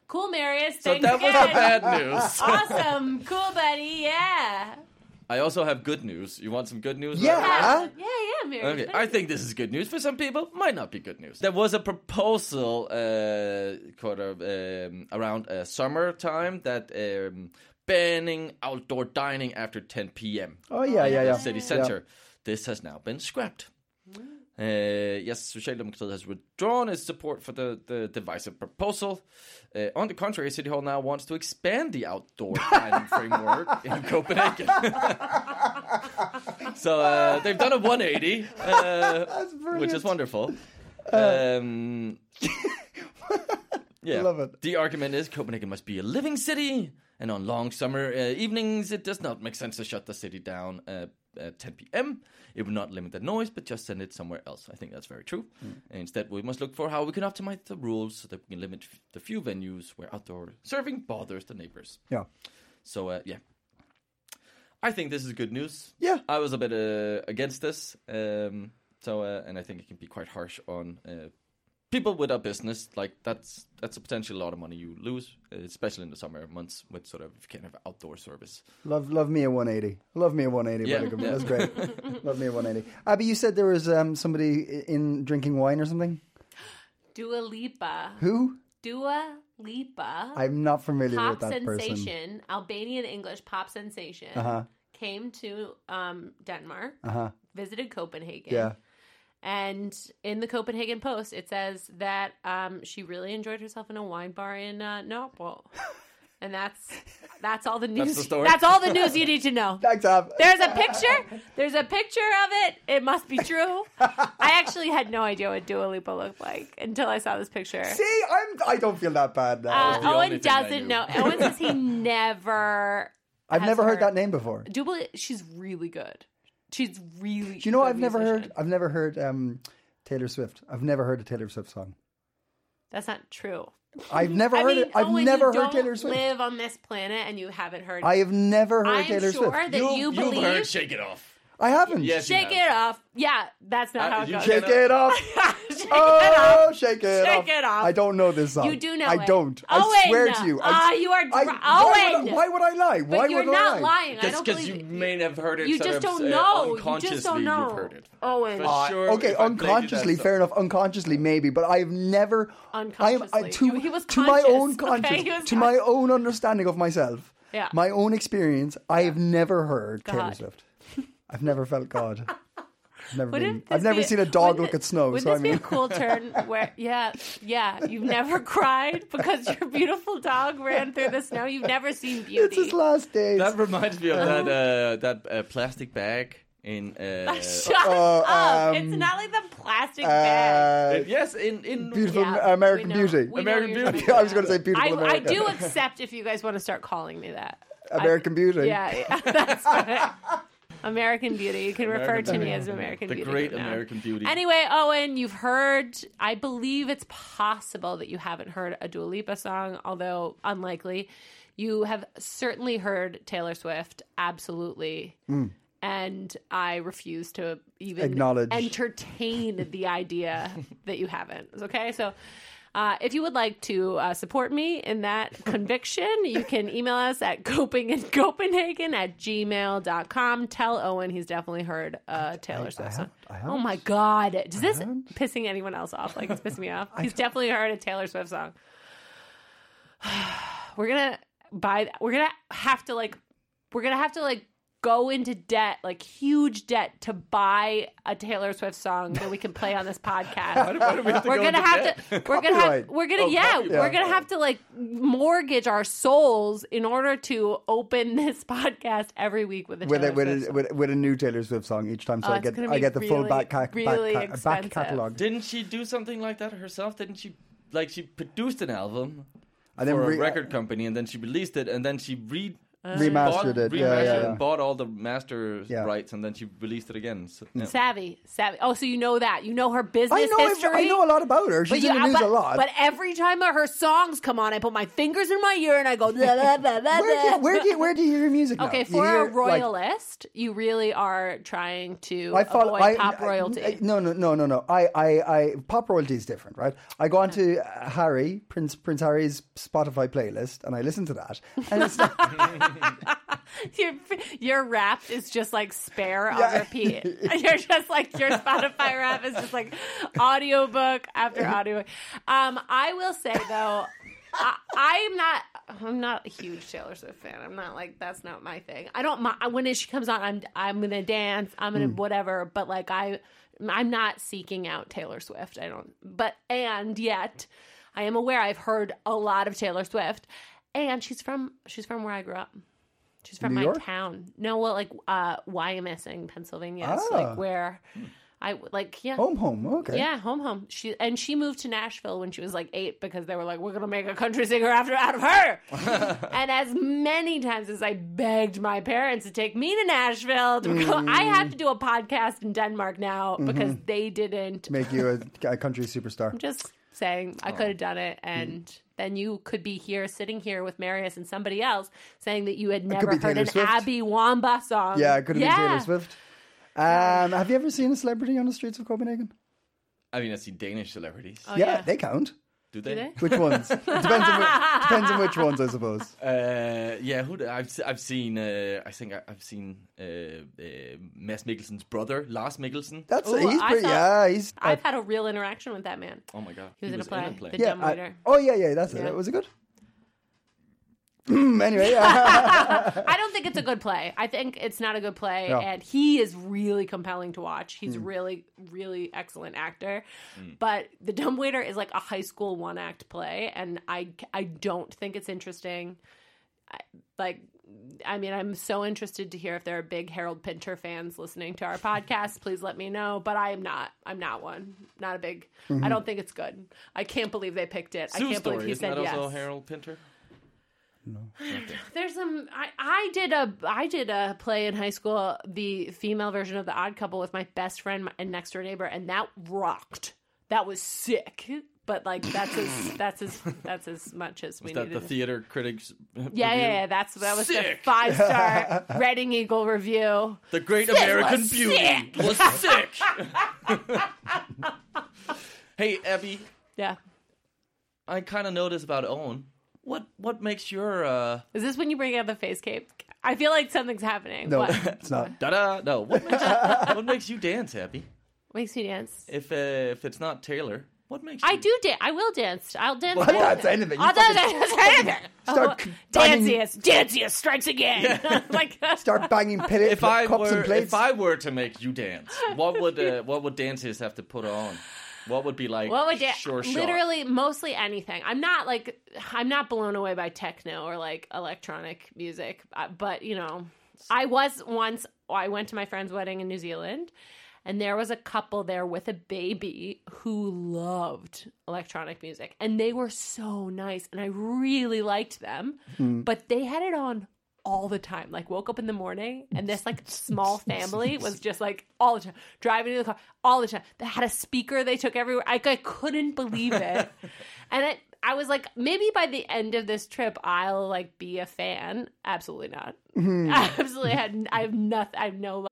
[SPEAKER 3] Cool, Marius.
[SPEAKER 2] So
[SPEAKER 3] Thanks
[SPEAKER 2] that was the
[SPEAKER 3] again.
[SPEAKER 2] bad news.
[SPEAKER 3] Awesome, cool, buddy. Yeah.
[SPEAKER 2] I also have good news. You want some good news?
[SPEAKER 1] Yeah.
[SPEAKER 2] Matt?
[SPEAKER 1] Huh?
[SPEAKER 3] Yeah, yeah, Marius.
[SPEAKER 2] Okay,
[SPEAKER 3] What
[SPEAKER 2] I
[SPEAKER 3] is-
[SPEAKER 2] think this is good news. For some people, might not be good news. There was a proposal, uh, kind of um, around uh, summertime, that um, banning outdoor dining after 10 p.m.
[SPEAKER 1] oh yeah yeah
[SPEAKER 2] the
[SPEAKER 1] yeah Mm.
[SPEAKER 2] city center. This has now been scrapped. Uh, yes, Socialdemokratiet has withdrawn its support for the, the divisive proposal. Uh, on the contrary, City Hall now wants to expand the outdoor dining framework in Copenhagen. so uh, they've done a 180, uh, which is wonderful. Um, Yeah.
[SPEAKER 1] Uh, Love it.
[SPEAKER 2] The argument is Copenhagen must be a living city, and on long summer uh, evenings, it does not make sense to shut the city down uh, at 10 p.m. It would not limit the noise, but just send it somewhere else. I think that's very true.
[SPEAKER 1] Hmm.
[SPEAKER 2] And instead, we must look for how we can optimize the rules so that we can limit f- the few venues where outdoor serving bothers the neighbors.
[SPEAKER 1] Yeah.
[SPEAKER 2] So, uh, yeah. I think this is good news.
[SPEAKER 1] Yeah.
[SPEAKER 2] I was a bit uh, against this. Um, so, uh, and I think it can be quite harsh on uh, people with a business. Like that's that's a potential lot of money you lose, uh, especially in the summer months with sort of if you can't have outdoor service.
[SPEAKER 1] Love, love me a 180. Love me a 180.
[SPEAKER 2] Yeah.
[SPEAKER 1] Balogun.
[SPEAKER 2] Yeah.
[SPEAKER 1] That's great. love me a 180. Abby, you said there was um, somebody i- in drinking wine or something.
[SPEAKER 3] Dua Lipa.
[SPEAKER 1] Who?
[SPEAKER 3] Dua Lipa.
[SPEAKER 1] I'm not familiar
[SPEAKER 3] pop
[SPEAKER 1] with that person. Uh-huh.
[SPEAKER 3] sensation, Albanian English pop sensation, came to um, Denmark, visited Copenhagen.
[SPEAKER 1] Yeah.
[SPEAKER 3] And in the Copenhagen Post, it says that um, she really enjoyed herself in a wine bar in uh, Norwell. And that's that's all the news.
[SPEAKER 2] the story.
[SPEAKER 3] that's all the news you need to know.
[SPEAKER 1] Thanks, Ab.
[SPEAKER 3] There's a picture. There's a picture of it. It must be true. I actually had no idea what Dua Lipa looked like until I saw this picture.
[SPEAKER 1] See, I'm. I don't feel that bad now.
[SPEAKER 3] Uh,
[SPEAKER 2] the only
[SPEAKER 3] Owen
[SPEAKER 2] thing I
[SPEAKER 3] doesn't
[SPEAKER 2] knew.
[SPEAKER 3] know. Owen says he never.
[SPEAKER 1] I've
[SPEAKER 3] has
[SPEAKER 1] never heard
[SPEAKER 3] her-
[SPEAKER 1] that name before. Do
[SPEAKER 3] Dubla, she's really good. She's really.
[SPEAKER 1] you know? I've never heard. I've never heard um, Taylor Swift. I've never heard a Taylor Swift song.
[SPEAKER 3] That's not true.
[SPEAKER 1] I've never
[SPEAKER 3] I
[SPEAKER 1] heard
[SPEAKER 3] mean,
[SPEAKER 1] it. I've
[SPEAKER 3] Owen,
[SPEAKER 1] never
[SPEAKER 3] you
[SPEAKER 1] heard
[SPEAKER 3] don't
[SPEAKER 1] Taylor Swift.
[SPEAKER 3] Live on this planet, and you haven't heard.
[SPEAKER 1] I have never heard
[SPEAKER 3] I'm
[SPEAKER 1] Taylor
[SPEAKER 3] sure
[SPEAKER 1] Swift.
[SPEAKER 3] that you,
[SPEAKER 2] You've
[SPEAKER 3] believe.
[SPEAKER 2] heard "Shake It Off."
[SPEAKER 1] I haven't.
[SPEAKER 2] Yes, you
[SPEAKER 3] shake
[SPEAKER 2] have.
[SPEAKER 3] it off. Yeah, that's not
[SPEAKER 2] Uh,
[SPEAKER 3] how it
[SPEAKER 2] you
[SPEAKER 3] goes.
[SPEAKER 1] Shake it off.
[SPEAKER 3] Shake it off.
[SPEAKER 1] Oh, shake it
[SPEAKER 3] Shake
[SPEAKER 1] off.
[SPEAKER 3] it off.
[SPEAKER 1] I don't know this song.
[SPEAKER 3] You do know
[SPEAKER 1] I
[SPEAKER 3] it.
[SPEAKER 1] don't. I
[SPEAKER 3] Owen!
[SPEAKER 1] swear to you. I-
[SPEAKER 3] Ah, you are
[SPEAKER 1] I-
[SPEAKER 3] dr-
[SPEAKER 1] why
[SPEAKER 3] Owen!
[SPEAKER 1] Would I, why would I lie?
[SPEAKER 3] But
[SPEAKER 1] why
[SPEAKER 3] you're
[SPEAKER 1] would I lie?
[SPEAKER 3] not lying. I
[SPEAKER 2] Just
[SPEAKER 3] don't
[SPEAKER 2] because
[SPEAKER 3] believe it.
[SPEAKER 2] you may have heard it,
[SPEAKER 3] You
[SPEAKER 2] sort
[SPEAKER 3] just
[SPEAKER 2] of,
[SPEAKER 3] don't
[SPEAKER 2] uh,
[SPEAKER 3] know. You just
[SPEAKER 2] Unconsciously,
[SPEAKER 3] don't know.
[SPEAKER 2] have heard it.
[SPEAKER 3] Owen.
[SPEAKER 2] For
[SPEAKER 1] Uh,
[SPEAKER 2] sure,
[SPEAKER 1] okay,
[SPEAKER 2] if I played you that
[SPEAKER 1] unconsciously,
[SPEAKER 2] song-
[SPEAKER 1] fair enough. Unconsciously, maybe, but I've never. I'm, I,
[SPEAKER 3] Unconsciously.
[SPEAKER 1] to,
[SPEAKER 3] You- he was
[SPEAKER 1] to my
[SPEAKER 3] conscious,
[SPEAKER 1] own
[SPEAKER 3] okay?
[SPEAKER 1] conscience,
[SPEAKER 3] He was
[SPEAKER 1] to my
[SPEAKER 3] conscious.
[SPEAKER 1] own understanding of myself,
[SPEAKER 3] Yeah.
[SPEAKER 1] my own experience. I have never heard Taylor
[SPEAKER 3] God.
[SPEAKER 1] Swift. I've never felt God. I've never, been,
[SPEAKER 3] Wouldn't
[SPEAKER 1] I've
[SPEAKER 3] this
[SPEAKER 1] never
[SPEAKER 3] be-
[SPEAKER 1] seen a dog
[SPEAKER 3] wouldn't
[SPEAKER 1] look
[SPEAKER 3] it-
[SPEAKER 1] at snow.
[SPEAKER 3] Wouldn't
[SPEAKER 1] So I
[SPEAKER 3] this be
[SPEAKER 1] mean,
[SPEAKER 3] a cool turn where, yeah, yeah, you've never cried because your beautiful dog ran through the snow. You've never seen beauty.
[SPEAKER 1] it's his last day.
[SPEAKER 2] That reminds me of that uh, that uh, plastic bag in. Uh,
[SPEAKER 3] Shut
[SPEAKER 1] Uh, um,
[SPEAKER 3] up! it's not like the plastic bag.
[SPEAKER 1] Uh,
[SPEAKER 2] yes, in in
[SPEAKER 1] beautiful
[SPEAKER 3] Yeah,
[SPEAKER 1] American
[SPEAKER 3] we know-
[SPEAKER 1] Beauty.
[SPEAKER 3] we know
[SPEAKER 2] American
[SPEAKER 3] you're
[SPEAKER 2] Beauty.
[SPEAKER 3] not
[SPEAKER 1] I was going to say
[SPEAKER 3] I,
[SPEAKER 1] beautiful
[SPEAKER 3] I
[SPEAKER 1] America.
[SPEAKER 3] do accept if you guys want to start calling me that.
[SPEAKER 1] American Beauty.
[SPEAKER 3] Yeah, yeah that's right. American Beauty. You can refer to me as American
[SPEAKER 2] The
[SPEAKER 3] Beauty.
[SPEAKER 2] great
[SPEAKER 3] from now on.
[SPEAKER 2] American Beauty.
[SPEAKER 3] Anyway, Owen, you've heard, I believe it's possible that you haven't heard a Dua Lipa song, although unlikely. You have certainly heard Taylor Swift, absolutely. And I refuse to even
[SPEAKER 1] Mm. Acknowledge.
[SPEAKER 3] entertain the idea that you haven't. Okay, so. Uh, if you would like to uh, support me in that conviction, you can email us at coping in Copenhagen at gmail.com. Tell Owen he's definitely heard uh, Taylor Swift song.
[SPEAKER 1] I
[SPEAKER 3] Oh
[SPEAKER 1] haven't.
[SPEAKER 3] my God. Does this pissing anyone else off like it's pissing me off? He's definitely heard a Taylor Swift song. We're going to buy, we're going to have to like, we're going to have to like go into debt, like huge debt to buy a Taylor Swift song that we can play on this podcast.
[SPEAKER 2] Why do we have to
[SPEAKER 3] We're
[SPEAKER 2] go
[SPEAKER 3] gonna
[SPEAKER 2] into
[SPEAKER 3] have
[SPEAKER 2] debt?
[SPEAKER 3] to. We're gonna have.
[SPEAKER 1] Copyright.
[SPEAKER 3] We're gonna.
[SPEAKER 2] Oh,
[SPEAKER 3] yeah,
[SPEAKER 2] copyright.
[SPEAKER 3] we're gonna have to like mortgage our souls in order to open this podcast every week with a
[SPEAKER 1] With
[SPEAKER 3] Taylor
[SPEAKER 1] a, with,
[SPEAKER 3] Swift
[SPEAKER 1] a,
[SPEAKER 3] song.
[SPEAKER 1] with, with a new Taylor Swift song each time, so
[SPEAKER 3] Oh,
[SPEAKER 1] I
[SPEAKER 3] it's
[SPEAKER 1] get
[SPEAKER 3] gonna
[SPEAKER 1] I
[SPEAKER 3] be
[SPEAKER 1] get the full
[SPEAKER 3] really,
[SPEAKER 1] back ca-
[SPEAKER 3] really
[SPEAKER 1] back, ca- back
[SPEAKER 3] expensive.
[SPEAKER 1] catalog,
[SPEAKER 2] Didn't she do something like that herself? Didn't she like she produced an album
[SPEAKER 1] and
[SPEAKER 2] for
[SPEAKER 1] re-
[SPEAKER 2] a record company and then she released it and then she re
[SPEAKER 3] Uh.
[SPEAKER 1] remastered
[SPEAKER 2] bought,
[SPEAKER 1] it.
[SPEAKER 2] remastered
[SPEAKER 1] Yeah, yeah, yeah.
[SPEAKER 2] and bought all the master
[SPEAKER 1] Yeah. Mm.
[SPEAKER 2] rights and then she released it again. So, yeah.
[SPEAKER 3] savvy, savvy. Oh, so you know that you know her business
[SPEAKER 1] I know I've- I
[SPEAKER 3] history.
[SPEAKER 1] know a lot about her. She's
[SPEAKER 3] you-
[SPEAKER 1] in the news
[SPEAKER 3] but,
[SPEAKER 1] a lot.
[SPEAKER 3] But every time her songs come on, I put my fingers in my ear and I go. "La, la, la, la,
[SPEAKER 1] where do,
[SPEAKER 3] la."
[SPEAKER 1] you- where do you, where do you hear your music? now?
[SPEAKER 3] Okay,
[SPEAKER 1] You
[SPEAKER 3] for
[SPEAKER 1] hear,
[SPEAKER 3] a
[SPEAKER 1] like,
[SPEAKER 3] royalist, you really are trying to
[SPEAKER 1] I follow
[SPEAKER 3] avoid
[SPEAKER 1] I,
[SPEAKER 3] pop
[SPEAKER 1] I-
[SPEAKER 3] royalty.
[SPEAKER 1] I- no, no, no, no, no. I, I, I, pop royalty is different, right? I go on
[SPEAKER 3] Uh-huh.
[SPEAKER 1] to uh, Harry Prince Prince Harry's Spotify playlist, and I listen to that, and it's not,
[SPEAKER 3] your your rap is just like spare on
[SPEAKER 1] Yeah.
[SPEAKER 3] repeat. You're just like your Spotify rap is just like audiobook after audiobook. Um, I will say though, I, I'm not I'm not a huge Taylor Swift fan. I'm not like that's not my thing. I don't mi- when she comes on, I'm I'm gonna dance. I'm gonna whatever. But like I I'm not seeking out Taylor Swift. I don't. But and yet. I am aware I've heard a lot of Taylor Swift, and she's from she's from where I grew up. She's from
[SPEAKER 1] New
[SPEAKER 3] my
[SPEAKER 1] York?
[SPEAKER 3] town. No, well, like uh, Wyomissing, Pennsylvania. So, like
[SPEAKER 1] Ah.
[SPEAKER 3] where I like yeah.
[SPEAKER 1] Home, home. Okay.
[SPEAKER 3] Yeah, home, home. She and she moved to Nashville when she was like eight because they were like, "We're gonna make a country singer after out of her." and as many times as I begged my parents to take me to Nashville, to go, I
[SPEAKER 1] Mm.
[SPEAKER 3] have to do a podcast in Denmark now because
[SPEAKER 1] Mm-hmm.
[SPEAKER 3] they didn't.
[SPEAKER 1] Make you a, a country superstar.
[SPEAKER 3] Just saying, I
[SPEAKER 1] Oh.
[SPEAKER 3] could have done it,
[SPEAKER 1] Mm.
[SPEAKER 3] and then you could be here, sitting here with Marius and somebody else, saying that you had never
[SPEAKER 1] be
[SPEAKER 3] heard
[SPEAKER 1] Taylor
[SPEAKER 3] an
[SPEAKER 1] Swift.
[SPEAKER 3] Abby Wamba song.
[SPEAKER 1] Yeah, it could have been
[SPEAKER 3] Yeah.
[SPEAKER 1] Taylor Swift. Um, have you ever seen a celebrity on the streets of Copenhagen?
[SPEAKER 2] I mean, I see Danish celebrities.
[SPEAKER 3] Oh,
[SPEAKER 1] yeah, they count.
[SPEAKER 2] do they?
[SPEAKER 3] they?
[SPEAKER 1] Which ones? depends, on whi- depends on which ones, I suppose.
[SPEAKER 2] Uh, yeah, who? do- I've se- I've seen. Uh, I think I, I've seen uh, uh, Mads Mikkelsen's brother, Lars Mikkelsen.
[SPEAKER 1] That's
[SPEAKER 3] Ooh,
[SPEAKER 1] he's
[SPEAKER 3] I
[SPEAKER 1] pretty.
[SPEAKER 3] thought-
[SPEAKER 1] yeah, he's. uh,
[SPEAKER 3] I've had a real interaction with that man.
[SPEAKER 2] oh my god,
[SPEAKER 3] He was in a play. The
[SPEAKER 1] yeah,
[SPEAKER 3] dumb
[SPEAKER 1] I-
[SPEAKER 3] waiter.
[SPEAKER 1] oh yeah, yeah. That's
[SPEAKER 3] Yeah.
[SPEAKER 1] it. Was it good? Mm, anyway, yeah.
[SPEAKER 3] I don't think it's a good play. I think it's not a good play,
[SPEAKER 1] No.
[SPEAKER 3] and he is really compelling to watch. He's really, really excellent actor.
[SPEAKER 2] Hmm.
[SPEAKER 3] But The Dumbwaiter is like a high school one act play, and I, I don't think it's interesting. I- Like, I mean, I'm so interested to hear if there are big Harold Pinter fans listening to our podcast. Please let me know. But I am not. I'm not one. Not a big. I don't think it's good. I can't believe they picked it. I
[SPEAKER 2] Sue
[SPEAKER 3] can't believe
[SPEAKER 2] story.
[SPEAKER 3] he
[SPEAKER 2] Isn't
[SPEAKER 3] said
[SPEAKER 2] that
[SPEAKER 3] yes.
[SPEAKER 2] also Harold Pinter?
[SPEAKER 3] There's some. I, I did a I did a play in high school, the female version of the Odd Couple with my best friend and next door neighbor, and that rocked. That was sick. But like that's as that's as that's as much as we
[SPEAKER 2] Is that
[SPEAKER 3] needed.
[SPEAKER 2] the theater critics?
[SPEAKER 3] yeah,
[SPEAKER 2] review?
[SPEAKER 3] yeah, yeah. That's that was the
[SPEAKER 2] Sick.
[SPEAKER 3] five star Reading Eagle review.
[SPEAKER 2] The Great
[SPEAKER 3] was
[SPEAKER 2] American
[SPEAKER 3] sick.
[SPEAKER 2] Beauty was sick. hey, Abby,
[SPEAKER 3] Yeah.
[SPEAKER 2] I kind of noticed about Owen. What what makes your uh,
[SPEAKER 3] Is this when you bring out the face cape? I feel like something's happening.
[SPEAKER 1] no,
[SPEAKER 3] What
[SPEAKER 1] it's not.
[SPEAKER 2] da da? No, what makes, what makes you dance, Abby?
[SPEAKER 3] makes me dance?
[SPEAKER 2] If uh, if it's not Taylor, what makes
[SPEAKER 3] I
[SPEAKER 2] you
[SPEAKER 3] do dance. I will dance. I'll dance.
[SPEAKER 1] Well,
[SPEAKER 3] dance.
[SPEAKER 1] that's anything. You
[SPEAKER 3] I'll
[SPEAKER 1] fucking-
[SPEAKER 3] dance. anything.
[SPEAKER 1] Start
[SPEAKER 3] oh,
[SPEAKER 1] banging-
[SPEAKER 3] danciest, danciest strikes again. like
[SPEAKER 1] Start banging pit-
[SPEAKER 2] If I
[SPEAKER 1] cups
[SPEAKER 2] were
[SPEAKER 1] and plates.
[SPEAKER 2] if I were to make you dance, what would uh, what would dancers have to put on? What would be like?
[SPEAKER 3] What would da-
[SPEAKER 2] sure shot?
[SPEAKER 3] literally mostly anything? I'm not like I'm not blown away by techno or like electronic music, uh, but you know, I was once. I went to my friend's wedding in New Zealand, and there was a couple there with a baby who loved electronic music, and they were so nice, and I really liked them,
[SPEAKER 1] Hmm.
[SPEAKER 3] but they had it on all the time. Like woke up in the morning and this like small family was just like all the time driving to the car all the time. They had a speaker they took everywhere. I, I couldn't believe it, and it, I was like, maybe by the end of this trip, I'll like be a fan. Absolutely not. Absolutely had. I have nothing. I have no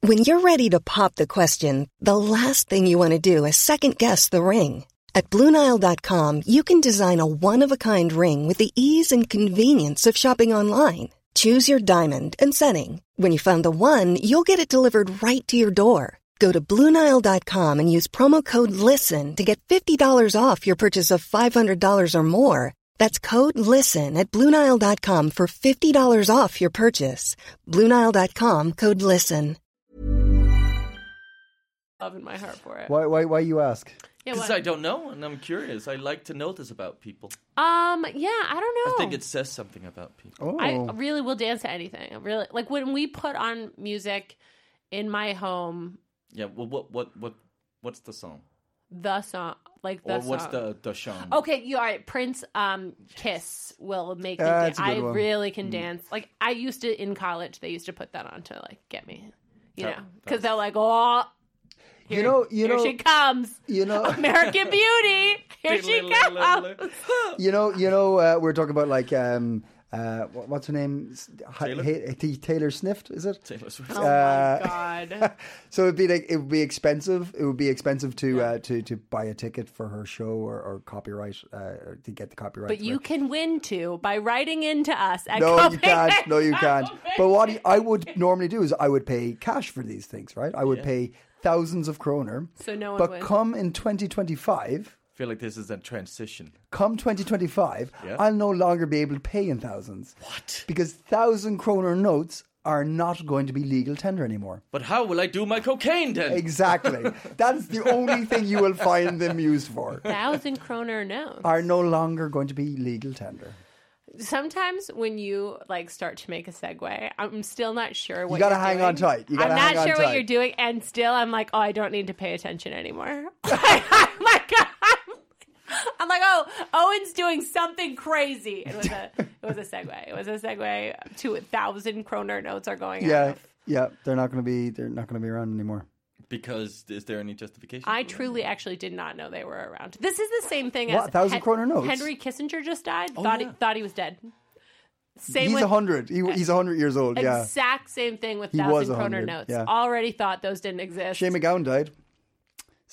[SPEAKER 4] When you're ready to pop the question, the last thing you want to do is second guess the ring. At Bluenile.com, you can design a one of a kind ring with the ease and convenience of shopping online. Choose your diamond and setting. When you find the one, you'll get it delivered right to your door. Go to Bluenile.com and use promo code LISTEN to get $50 off your purchase of $500 or more. That's code LISTEN at Bluenile.com for $50 off your purchase. Bluenile.com code LISTEN.
[SPEAKER 3] love in my heart for it.
[SPEAKER 1] why, why, why you ask?
[SPEAKER 3] Yeah,
[SPEAKER 2] Because
[SPEAKER 3] what?
[SPEAKER 2] I don't know, and I'm curious. I like to know this about people.
[SPEAKER 3] um. Yeah. I don't know.
[SPEAKER 2] I think it says something about people.
[SPEAKER 1] Oh,
[SPEAKER 3] I really will dance to anything. I really like when we put on music in my home.
[SPEAKER 2] Yeah. Well, what what what what's the song?
[SPEAKER 3] The song, like the
[SPEAKER 2] or what's
[SPEAKER 3] song. Oh,
[SPEAKER 2] the the song?
[SPEAKER 3] Okay, you all right. Prince um Kiss will make me
[SPEAKER 1] Yeah,
[SPEAKER 3] dance.
[SPEAKER 1] Ah, that's a good
[SPEAKER 3] I
[SPEAKER 1] one. Mm.
[SPEAKER 3] really can dance. Like I used to in college, they used to put that on to like get me. You know, because they're like, oh,
[SPEAKER 1] you know, you
[SPEAKER 3] here
[SPEAKER 1] know,
[SPEAKER 3] she comes,
[SPEAKER 1] you know,
[SPEAKER 3] American Beauty, here she comes.
[SPEAKER 1] you know, you know. Uh, we're talking about like um, uh, what- what's her name? S- Hi-
[SPEAKER 2] Taylor?
[SPEAKER 1] Hay- T- Taylor Snift, is it?
[SPEAKER 2] Taylor Swift.
[SPEAKER 3] Oh
[SPEAKER 1] Uh,
[SPEAKER 3] my god!
[SPEAKER 1] So it'd be like it would be expensive. It would be expensive to uh, to to buy a ticket for her show or, or copyright uh, or to get the copyright.
[SPEAKER 3] But
[SPEAKER 1] for
[SPEAKER 3] you
[SPEAKER 1] it.
[SPEAKER 3] can win too by writing into us. At
[SPEAKER 1] No, you
[SPEAKER 3] Copenhagen
[SPEAKER 1] can't. No, you can't. But what
[SPEAKER 3] Copenhagen.
[SPEAKER 1] I would normally do is I would pay cash for these things, right? I would pay thousands of kroner.
[SPEAKER 3] So no one
[SPEAKER 1] But
[SPEAKER 3] would.
[SPEAKER 1] come in 2025,
[SPEAKER 2] I feel like this is a transition.
[SPEAKER 1] come 2025,
[SPEAKER 2] Yeah.
[SPEAKER 1] I'll no longer be able to pay in thousands. What? Because thousand kroner notes are not going to be legal tender anymore.
[SPEAKER 2] But how will I do my cocaine then?
[SPEAKER 1] Exactly. That's the only thing you will find them used for.
[SPEAKER 3] thousand kroner no.
[SPEAKER 1] Are no longer going to be legal tender.
[SPEAKER 3] sometimes when you like start to make a segue, I'm still not sure what
[SPEAKER 1] You gotta
[SPEAKER 3] are
[SPEAKER 1] hang on tight. You gotta
[SPEAKER 3] I'm
[SPEAKER 1] hang
[SPEAKER 3] not
[SPEAKER 1] on
[SPEAKER 3] sure
[SPEAKER 1] tight.
[SPEAKER 3] what you're doing, and still I'm like, oh, I don't need to pay attention anymore. I'm like, I'm, I'm like, oh, Owen's doing something crazy. It was a it was a segue. It was a segue. Two thousand kroner notes are going.
[SPEAKER 1] Yeah,
[SPEAKER 3] off.
[SPEAKER 1] yeah. They're not going to be. They're not going to be around anymore.
[SPEAKER 2] Because is there any justification?
[SPEAKER 3] I
[SPEAKER 2] for it?
[SPEAKER 3] truly actually did not know they were around. This is the same thing
[SPEAKER 1] What, 1,000
[SPEAKER 3] as Hen-
[SPEAKER 1] kroner notes? Oh,
[SPEAKER 3] Henry Kissinger just died. thought he thought he was dead. Same
[SPEAKER 1] he's
[SPEAKER 3] with
[SPEAKER 1] a hundred. He, he's a hundred years old. Yeah.
[SPEAKER 3] exact same thing with
[SPEAKER 1] He was
[SPEAKER 3] thousand
[SPEAKER 1] a
[SPEAKER 3] kroner
[SPEAKER 1] hundred,
[SPEAKER 3] notes.
[SPEAKER 1] yeah.
[SPEAKER 3] Already thought those didn't exist.
[SPEAKER 1] Shane McGowan died.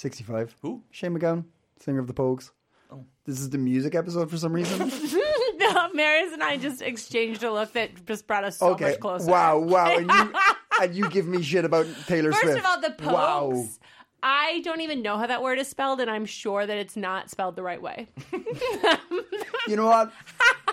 [SPEAKER 1] Sixty-five.
[SPEAKER 2] Who? Oh.
[SPEAKER 1] Shane McGowan, singer of the Pogues. This is the music episode for some reason.
[SPEAKER 3] no, Marius and I just exchanged a look that just brought us so
[SPEAKER 1] okay.
[SPEAKER 3] much closer.
[SPEAKER 1] Wow. Wow. And you, and you give me shit about Taylor
[SPEAKER 3] First
[SPEAKER 1] Swift.
[SPEAKER 3] of all, the Pogues.
[SPEAKER 1] Wow.
[SPEAKER 3] I don't even know how that word is spelled, and I'm sure that it's not spelled the right way.
[SPEAKER 1] You know what?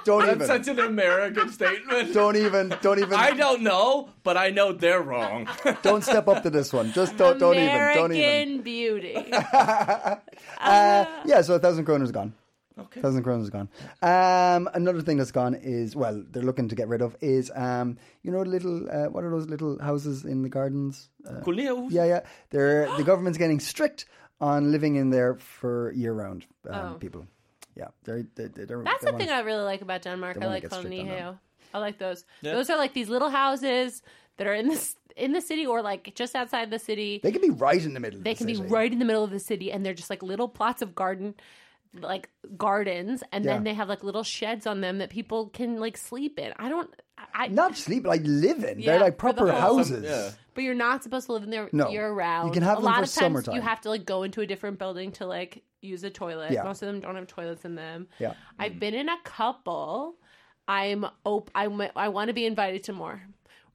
[SPEAKER 1] Don't
[SPEAKER 2] That's
[SPEAKER 1] even.
[SPEAKER 2] such an American statement.
[SPEAKER 1] Don't even. Don't even.
[SPEAKER 2] I don't know, but I know they're wrong.
[SPEAKER 1] Don't step up to this one. Just don't. Don't even. Don't even.
[SPEAKER 3] American Beauty.
[SPEAKER 1] Uh, yeah, so a thousand kroner's gone.
[SPEAKER 2] Okay.
[SPEAKER 1] Thousand kroner's gone. Um, another thing that's gone is well, they're looking to get rid of is um, you know, little uh, what are those little houses in the gardens? Uh,
[SPEAKER 2] Kulneus?
[SPEAKER 1] yeah, yeah. They're the government's getting strict on living in there for year-round um, people. Yeah, they're, they're, they're, they're
[SPEAKER 3] Oh. That's
[SPEAKER 1] they
[SPEAKER 3] the thing I really like about Denmark. I
[SPEAKER 1] wanna
[SPEAKER 3] like
[SPEAKER 1] get strict on
[SPEAKER 3] Koloniheo.
[SPEAKER 1] that.
[SPEAKER 3] I like those. Those are like these little houses that are in this in the city or like just outside the city.
[SPEAKER 1] They can be right in the middle.
[SPEAKER 3] They
[SPEAKER 1] of the
[SPEAKER 3] can be
[SPEAKER 1] city.
[SPEAKER 3] right in the middle of the city, and they're just like little plots of garden, like gardens, and then
[SPEAKER 1] Yeah.
[SPEAKER 3] they have like little sheds on them that people can like sleep in. I don't. I
[SPEAKER 1] Not sleep, like live in.
[SPEAKER 3] Yeah,
[SPEAKER 1] they're like
[SPEAKER 3] for the
[SPEAKER 1] proper
[SPEAKER 3] whole-
[SPEAKER 1] houses.
[SPEAKER 2] Some- yeah.
[SPEAKER 3] But you're not supposed to live in there
[SPEAKER 1] No.
[SPEAKER 3] year round.
[SPEAKER 1] You can have
[SPEAKER 3] a
[SPEAKER 1] them
[SPEAKER 3] lot
[SPEAKER 1] for
[SPEAKER 3] of times
[SPEAKER 1] summertime.
[SPEAKER 3] You have to like go into a different building to like use a toilet.
[SPEAKER 1] Yeah.
[SPEAKER 3] Most of them don't have toilets in them.
[SPEAKER 1] Yeah.
[SPEAKER 3] I've been in a couple. I'm op- I'm I want to be invited to more.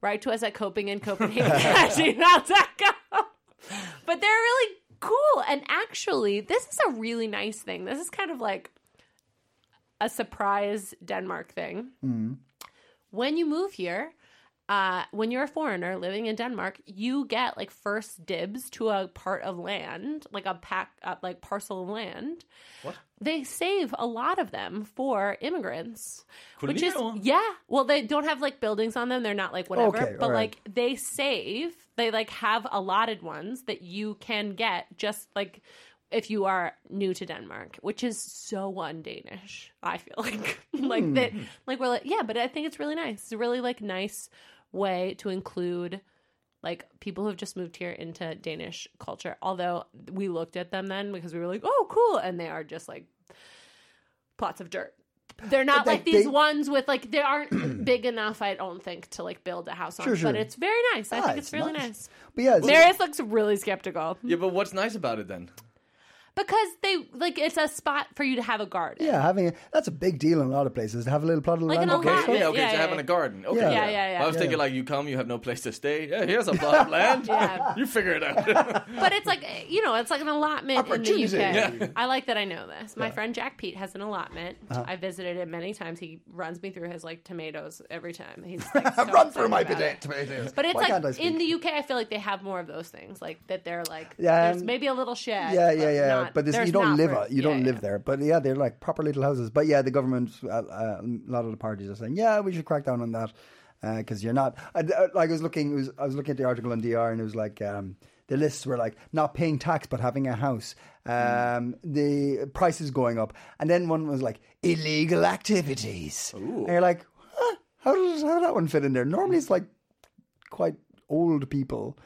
[SPEAKER 3] Write to us at coping in Copenhagen at gmail.com. But they're really cool. And actually, this is a really nice thing. This is kind of like a surprise Denmark thing. When you move here, uh, when you're a foreigner living in Denmark, you get like first dibs to a part of land, like a pack, uh, like parcel of land. What? They save a lot of them for immigrants, which is
[SPEAKER 2] Cool.
[SPEAKER 3] yeah. Well, they don't have like buildings on them; they're not like whatever.
[SPEAKER 1] Okay,
[SPEAKER 3] but
[SPEAKER 1] all right.
[SPEAKER 3] like they save, they like have allotted ones that you can get just like if you are new to Denmark, which is so un-Danish. I feel like like that
[SPEAKER 1] Hmm.
[SPEAKER 3] like we're like yeah, but I think it's really nice. It's a really like nice way to include like people who have just moved here into Danish culture. Although we looked at them then because we were like, oh, cool, and they are just like plots of dirt. They're not
[SPEAKER 1] they-
[SPEAKER 3] like these
[SPEAKER 1] they-
[SPEAKER 3] ones with like they aren't big enough, I don't think, to like build a house on.
[SPEAKER 1] Sure, sure.
[SPEAKER 3] But it's very nice. I
[SPEAKER 1] Ah,
[SPEAKER 3] think it's, really nice.
[SPEAKER 1] But yeah, it's-
[SPEAKER 3] Marius looks really skeptical
[SPEAKER 2] Yeah, but what's nice about it then?
[SPEAKER 3] because they like it's a spot for you to have a garden.
[SPEAKER 1] yeah, having a, that's a big deal in a lot of places to have a little plot of
[SPEAKER 3] Like
[SPEAKER 1] land.
[SPEAKER 3] an
[SPEAKER 2] Okay,
[SPEAKER 3] allotment.
[SPEAKER 2] yeah, okay,
[SPEAKER 3] Yeah,
[SPEAKER 2] so
[SPEAKER 3] yeah,
[SPEAKER 2] having
[SPEAKER 3] yeah.
[SPEAKER 2] a garden. Okay,
[SPEAKER 1] Yeah.
[SPEAKER 3] Yeah, yeah, yeah.
[SPEAKER 2] I was
[SPEAKER 3] Yeah.
[SPEAKER 2] thinking like you come, you have no place to stay. Yeah, here's a plot of land.
[SPEAKER 3] Yeah.
[SPEAKER 2] You figure it out.
[SPEAKER 3] But it's like you know, it's like an allotment in the UK.
[SPEAKER 1] Opportunity.
[SPEAKER 3] I like that I know this. My friend Jack Pete has an allotment.
[SPEAKER 1] Uh-huh.
[SPEAKER 3] I visited it many times. He runs me through his like tomatoes every time. He's like, so
[SPEAKER 1] Run
[SPEAKER 3] excited
[SPEAKER 1] through my
[SPEAKER 3] about it.
[SPEAKER 1] potatoes.
[SPEAKER 3] But it's
[SPEAKER 1] Why can't I
[SPEAKER 3] like
[SPEAKER 1] speak?
[SPEAKER 3] in the UK, I feel like they have more of those things, like that they're like
[SPEAKER 1] Yeah,
[SPEAKER 3] there's
[SPEAKER 1] um,
[SPEAKER 3] maybe a little shed.
[SPEAKER 1] yeah, yeah,
[SPEAKER 3] but
[SPEAKER 1] yeah.
[SPEAKER 3] not-
[SPEAKER 1] but this,
[SPEAKER 3] there's
[SPEAKER 1] you don't
[SPEAKER 3] not
[SPEAKER 1] live
[SPEAKER 3] for-
[SPEAKER 1] a, you
[SPEAKER 3] yeah,
[SPEAKER 1] don't
[SPEAKER 3] yeah.
[SPEAKER 1] live there. But yeah, they're like proper little houses. But yeah, the government, uh, uh, a lot of the parties are saying, yeah, we should crack down on that because you're not. I, I- like I was looking, it was, I was looking at the article on DR, and it was like um, the lists were like not paying tax but having a house.
[SPEAKER 3] Mm.
[SPEAKER 1] Um, The prices going up, and then one was like illegal activities. And you're like, huh, how does how did that one fit in there? Normally, it's like quite old people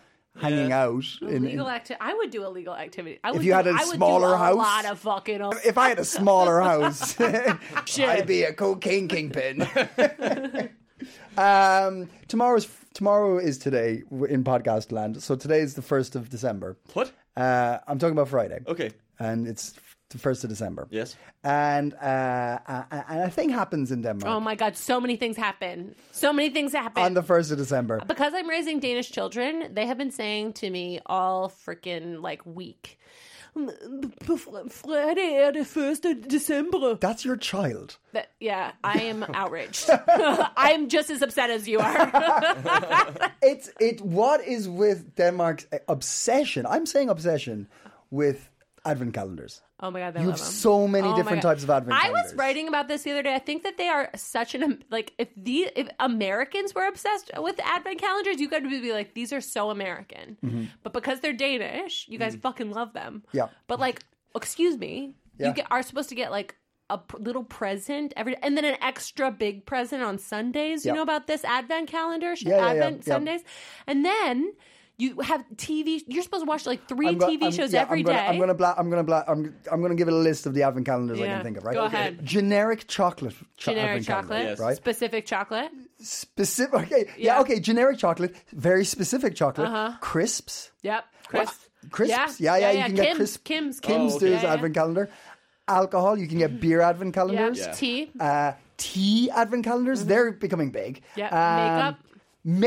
[SPEAKER 1] hanging out in, in
[SPEAKER 3] Legal acti- I would do illegal activity. I would
[SPEAKER 1] you
[SPEAKER 3] do-
[SPEAKER 1] had a
[SPEAKER 3] I would do
[SPEAKER 1] smaller house-
[SPEAKER 3] a lot of fucking.
[SPEAKER 1] if I had a smaller house,
[SPEAKER 3] Shit.
[SPEAKER 1] I'd be a cocaine kingpin. um, tomorrow's tomorrow is today in podcast land. So today is the first of December.
[SPEAKER 2] What?
[SPEAKER 1] Uh, I'm talking about Friday.
[SPEAKER 2] Okay.
[SPEAKER 1] And it's the first of December.
[SPEAKER 2] Yes.
[SPEAKER 1] And uh, a- and a thing happens in Denmark
[SPEAKER 3] Oh my god, so many things happen. So many things happen.
[SPEAKER 1] on the first of December.
[SPEAKER 3] because I'm raising Danish children, they have been saying to me all freaking like week. "På fr- Friday er det 1. december.
[SPEAKER 1] That's your child.
[SPEAKER 3] That- yeah, I am outraged. I am just as upset as you are.
[SPEAKER 1] It's it. What is with Denmark's obsession? I'm saying obsession with advent calendars.
[SPEAKER 3] Oh my god, they
[SPEAKER 1] You
[SPEAKER 3] love
[SPEAKER 1] have
[SPEAKER 3] them.
[SPEAKER 1] so many
[SPEAKER 3] Oh my
[SPEAKER 1] different
[SPEAKER 3] God.
[SPEAKER 1] types of advent
[SPEAKER 3] I was
[SPEAKER 1] calendars.
[SPEAKER 3] writing about this the other day. I think that they are such an like if the if Americans were obsessed with advent calendars, you guys would be like, these are so American. But because they're Danish, you guys fucking love them.
[SPEAKER 1] Mm-hmm. Yeah.
[SPEAKER 3] But like, excuse me,
[SPEAKER 1] Yeah.
[SPEAKER 3] you get, are supposed to get like. A p- little present every, and then an extra big present on Sundays. You
[SPEAKER 1] Yeah.
[SPEAKER 3] know about this Advent calendar, sh-
[SPEAKER 1] Yeah, yeah, yeah,
[SPEAKER 3] Advent
[SPEAKER 1] yeah.
[SPEAKER 3] Sundays, and then you have TV. You're supposed to watch like 3
[SPEAKER 1] I'm go-
[SPEAKER 3] TV
[SPEAKER 1] I'm-
[SPEAKER 3] shows
[SPEAKER 1] yeah,
[SPEAKER 3] every
[SPEAKER 1] I'm
[SPEAKER 3] day.
[SPEAKER 1] gonna, I'm gonna, bla- I'm gonna, bla- I'm, I'm gonna give it a list of the advent calendars I
[SPEAKER 3] Yeah.
[SPEAKER 1] can think of. Right?
[SPEAKER 3] Go Okay. ahead.
[SPEAKER 1] Generic chocolate. cho-
[SPEAKER 3] generic
[SPEAKER 1] advent calendar,
[SPEAKER 3] chocolate,
[SPEAKER 2] Yes.
[SPEAKER 1] right?
[SPEAKER 3] specific chocolate.
[SPEAKER 1] Specific. Okay. Yeah.
[SPEAKER 3] Yeah. Uh-huh.
[SPEAKER 1] Okay. Generic chocolate. Very specific chocolate. Crisps.
[SPEAKER 3] Yep, crisps.
[SPEAKER 1] Crisps. Yeah. Yeah. you can get
[SPEAKER 3] Kim's,
[SPEAKER 1] crisps.
[SPEAKER 3] Kim's,
[SPEAKER 1] Kim's
[SPEAKER 2] Oh, okay.
[SPEAKER 1] there's
[SPEAKER 3] Yeah, yeah.
[SPEAKER 1] advent calendar. Alcohol. You can get beer advent
[SPEAKER 3] Yep.
[SPEAKER 1] calendars.
[SPEAKER 2] Yeah.
[SPEAKER 3] Tea.
[SPEAKER 1] Uh, tea advent calendars. They're becoming big.
[SPEAKER 3] Yep.
[SPEAKER 1] Um,
[SPEAKER 3] Mm-hmm. Makeup.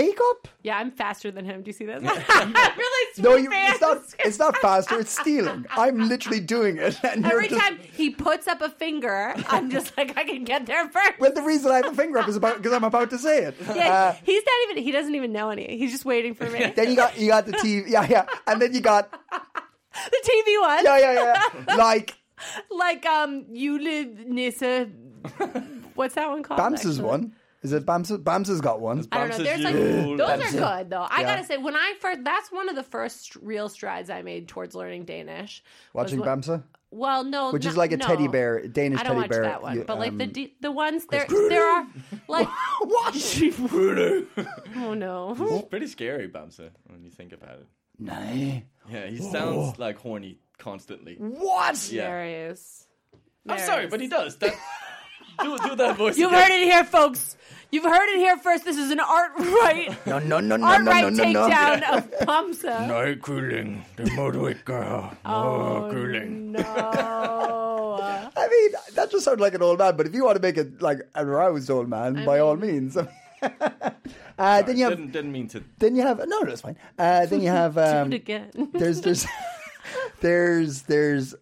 [SPEAKER 1] Makeup.
[SPEAKER 3] Yeah, I'm faster than him. Do you see that? I'm really
[SPEAKER 1] No,
[SPEAKER 3] super
[SPEAKER 1] you,
[SPEAKER 3] fast.
[SPEAKER 1] it's not. It's not faster. It's stealing. I'm literally doing it. And
[SPEAKER 3] Every
[SPEAKER 1] you're just,
[SPEAKER 3] time he puts up a finger, I'm just like, I can get there first.
[SPEAKER 1] Well, the reason I have a finger up is about because I'm about to say it. Uh,
[SPEAKER 3] yeah, he's not even. He doesn't even know any. He's just waiting for me.
[SPEAKER 1] Then you got you got the TV, yeah, yeah, and then you got
[SPEAKER 3] the TV one,
[SPEAKER 1] yeah, yeah, yeah, like
[SPEAKER 3] like um, you live Nissa. What's that one called?
[SPEAKER 1] Bams's
[SPEAKER 3] actually?
[SPEAKER 1] one. Is it Bams's? Bams's got one.
[SPEAKER 3] I don't know.
[SPEAKER 2] Bamses
[SPEAKER 3] There's like
[SPEAKER 2] you.
[SPEAKER 3] those are good though. I
[SPEAKER 1] Yeah.
[SPEAKER 3] gotta say, when I first, that's one of the first st- real strides I made towards learning Danish. was
[SPEAKER 1] Watching
[SPEAKER 3] wh-
[SPEAKER 1] Bamsa,
[SPEAKER 3] Well, no,
[SPEAKER 1] which is
[SPEAKER 3] no-
[SPEAKER 1] like a
[SPEAKER 3] no.
[SPEAKER 1] teddy bear, a Danish
[SPEAKER 3] I don't
[SPEAKER 1] teddy
[SPEAKER 3] watch
[SPEAKER 1] bear.
[SPEAKER 3] that one,
[SPEAKER 1] you-
[SPEAKER 3] but like the
[SPEAKER 1] um,
[SPEAKER 3] de- the ones there there are like
[SPEAKER 1] what?
[SPEAKER 3] oh no.
[SPEAKER 2] It's pretty scary, Bamsa, when you think about it.
[SPEAKER 1] Nah.
[SPEAKER 2] Yeah, he sounds like horny constantly.
[SPEAKER 1] What?
[SPEAKER 2] Yeah.
[SPEAKER 3] There Mm-hmm. is.
[SPEAKER 2] I'm sorry, but he does. That, do, do that voice.
[SPEAKER 3] You've
[SPEAKER 2] again.
[SPEAKER 3] heard it here, folks. You've heard it here first. This is an art right,
[SPEAKER 1] No, no, no, no,
[SPEAKER 3] art
[SPEAKER 1] no, no,
[SPEAKER 3] right
[SPEAKER 1] no, no.
[SPEAKER 3] takedown of Bamsa.
[SPEAKER 5] Nej, kylling. Det må du ikke gøre.
[SPEAKER 1] Oh,
[SPEAKER 5] Nå, kylling.
[SPEAKER 3] No.
[SPEAKER 1] I mean, that just sounds like an old man. But if you want to make it like an aroused old man, by all means. uh, then you have,
[SPEAKER 2] Didn't, didn't mean to.
[SPEAKER 1] then you have. No, no, it's fine. Uh, then you have. Um,
[SPEAKER 3] it again.
[SPEAKER 1] there's there's there's there's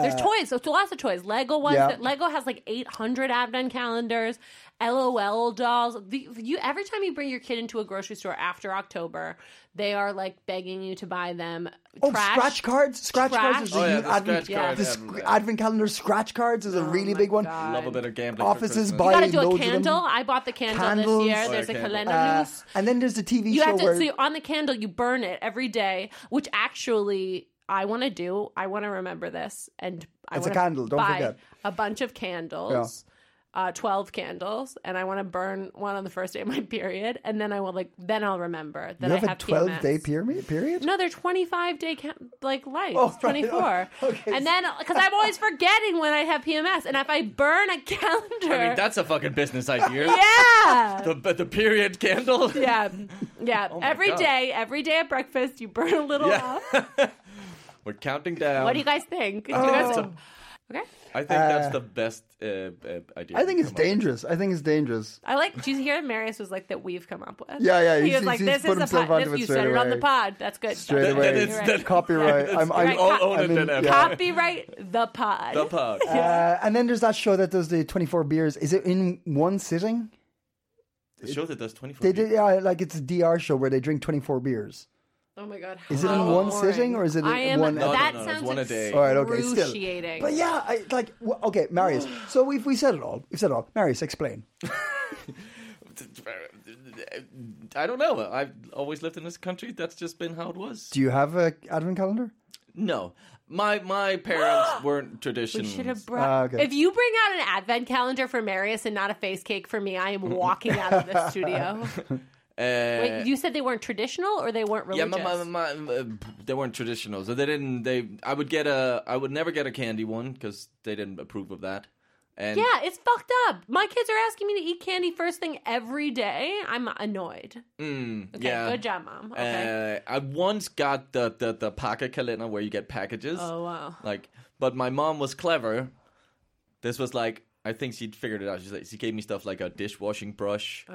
[SPEAKER 3] There's toys. There's lots of toys. Lego ones.
[SPEAKER 1] yeah.
[SPEAKER 3] that- Lego has like 800 advent calendars. LOL dolls. The, you every time you bring your kid into a grocery store after October, they are like begging you to buy them.
[SPEAKER 1] oh
[SPEAKER 3] trash.
[SPEAKER 1] scratch cards scratch
[SPEAKER 3] Trash.
[SPEAKER 1] cards is a
[SPEAKER 3] Oh,
[SPEAKER 2] yeah,
[SPEAKER 1] huge
[SPEAKER 2] the
[SPEAKER 1] advent,
[SPEAKER 2] scratch card
[SPEAKER 1] the
[SPEAKER 2] advent,
[SPEAKER 1] sc-
[SPEAKER 2] yeah.
[SPEAKER 1] advent calendar scratch cards is a really
[SPEAKER 3] my
[SPEAKER 1] big one
[SPEAKER 3] God.
[SPEAKER 2] Love a bit of gambling. for
[SPEAKER 1] offices
[SPEAKER 2] Christmas.
[SPEAKER 1] buy
[SPEAKER 3] You gotta do a
[SPEAKER 1] loads of them.
[SPEAKER 3] candle. I bought the candle
[SPEAKER 1] Candles.
[SPEAKER 3] this year.
[SPEAKER 1] Oh,
[SPEAKER 3] There's
[SPEAKER 2] yeah,
[SPEAKER 3] a
[SPEAKER 2] candle.
[SPEAKER 3] calendar
[SPEAKER 1] Uh,
[SPEAKER 3] loose.
[SPEAKER 1] and then there's the TV
[SPEAKER 3] You
[SPEAKER 1] show
[SPEAKER 3] have to oh,
[SPEAKER 1] where
[SPEAKER 3] so on the candle you burn it every day, which actually I want to do. I want to remember this, and I
[SPEAKER 1] It's a
[SPEAKER 3] wanna
[SPEAKER 1] candle, don't
[SPEAKER 3] buy
[SPEAKER 1] forget.
[SPEAKER 3] a bunch of candles. Uh, 12 candles and i want to burn one on the first day of my period and then i will like then i'll remember that
[SPEAKER 1] you have,
[SPEAKER 3] i
[SPEAKER 1] a 12
[SPEAKER 3] PMS.
[SPEAKER 1] day period period
[SPEAKER 3] no they're 25 day ca- like life
[SPEAKER 1] Oh, right.
[SPEAKER 3] 24
[SPEAKER 1] Okay.
[SPEAKER 3] and then because i'm always forgetting when i have pms and if i burn a calendar
[SPEAKER 2] I mean, that's a fucking business idea.
[SPEAKER 3] yeah
[SPEAKER 2] The, but the period candle.
[SPEAKER 3] yeah, yeah.
[SPEAKER 1] Oh
[SPEAKER 3] Every
[SPEAKER 2] my
[SPEAKER 3] day,
[SPEAKER 2] God.
[SPEAKER 3] every day at breakfast, you burn a little
[SPEAKER 2] Yeah.
[SPEAKER 3] off.
[SPEAKER 2] We're counting down.
[SPEAKER 1] Um,
[SPEAKER 3] What do you guys think? Do you
[SPEAKER 2] That's
[SPEAKER 1] Oh.
[SPEAKER 3] guys-
[SPEAKER 2] a-
[SPEAKER 3] okay,
[SPEAKER 2] I think that's the best uh, uh, idea.
[SPEAKER 1] I think
[SPEAKER 2] we
[SPEAKER 1] it's
[SPEAKER 2] come up with.
[SPEAKER 1] dangerous I think it's dangerous
[SPEAKER 3] I like. Do you hear Marius was like that? We've come up with.
[SPEAKER 1] Yeah, yeah,
[SPEAKER 3] He
[SPEAKER 1] he's-
[SPEAKER 3] was like,
[SPEAKER 1] he's
[SPEAKER 3] "This
[SPEAKER 1] put
[SPEAKER 3] is a
[SPEAKER 1] himself
[SPEAKER 3] pod.
[SPEAKER 1] onto
[SPEAKER 3] This,
[SPEAKER 1] it
[SPEAKER 3] you
[SPEAKER 1] straight
[SPEAKER 3] said it on the
[SPEAKER 1] away.
[SPEAKER 3] pod. That's good. stuff.
[SPEAKER 1] straight
[SPEAKER 3] You're
[SPEAKER 1] away
[SPEAKER 2] it's-
[SPEAKER 3] right.
[SPEAKER 2] that-
[SPEAKER 1] copyright I'm, I'm,
[SPEAKER 3] Right,
[SPEAKER 2] I'll
[SPEAKER 3] co-
[SPEAKER 2] own it
[SPEAKER 1] I'm in-
[SPEAKER 2] then.
[SPEAKER 1] yeah.
[SPEAKER 3] Copyright the pod.
[SPEAKER 2] The pug.
[SPEAKER 1] uh, and then there's that show that does the 24 beers is it in one sitting
[SPEAKER 2] the show that does 24
[SPEAKER 1] they did yeah like it's a DR show where they drink 24 beers
[SPEAKER 3] Oh my god.
[SPEAKER 1] Is it in
[SPEAKER 3] how
[SPEAKER 1] one sitting, or is it in
[SPEAKER 3] I am,
[SPEAKER 1] one- No,
[SPEAKER 2] no,
[SPEAKER 3] That
[SPEAKER 2] no, it's
[SPEAKER 3] sounds
[SPEAKER 2] one a day.
[SPEAKER 1] All right, okay, still.
[SPEAKER 3] excruciating.
[SPEAKER 1] But yeah, I, like w- okay, Marius. so we've we said it all. We've said it all. Marius, explain.
[SPEAKER 2] I don't know. I've always lived in this country. That's just been how it was.
[SPEAKER 1] Do you have a advent calendar?
[SPEAKER 2] No, my my parents weren't
[SPEAKER 3] We
[SPEAKER 2] traditional.
[SPEAKER 3] should have brought.
[SPEAKER 1] Ah, okay.
[SPEAKER 3] If you bring out an advent calendar for Marius and not a face cake for me, I am walking out of the studio.
[SPEAKER 2] uh,
[SPEAKER 3] Wait, you said they weren't traditional or they weren't
[SPEAKER 2] yeah,
[SPEAKER 3] religious?
[SPEAKER 2] my, my, my, uh, they weren't traditional, so they didn't. They I would get a I would never get a candy one because they didn't approve of that. And
[SPEAKER 3] Yeah, it's fucked up. My kids are asking me to eat candy first thing every day. I'm annoyed. okay,
[SPEAKER 2] yeah.
[SPEAKER 3] good job, mom. Okay.
[SPEAKER 2] Uh, I once got the the the packet calendar where you get packages.
[SPEAKER 3] oh wow.
[SPEAKER 2] Like, but my mom was clever. This was like I think she'd figured it out. She's like, she gave me stuff like a dishwashing brush,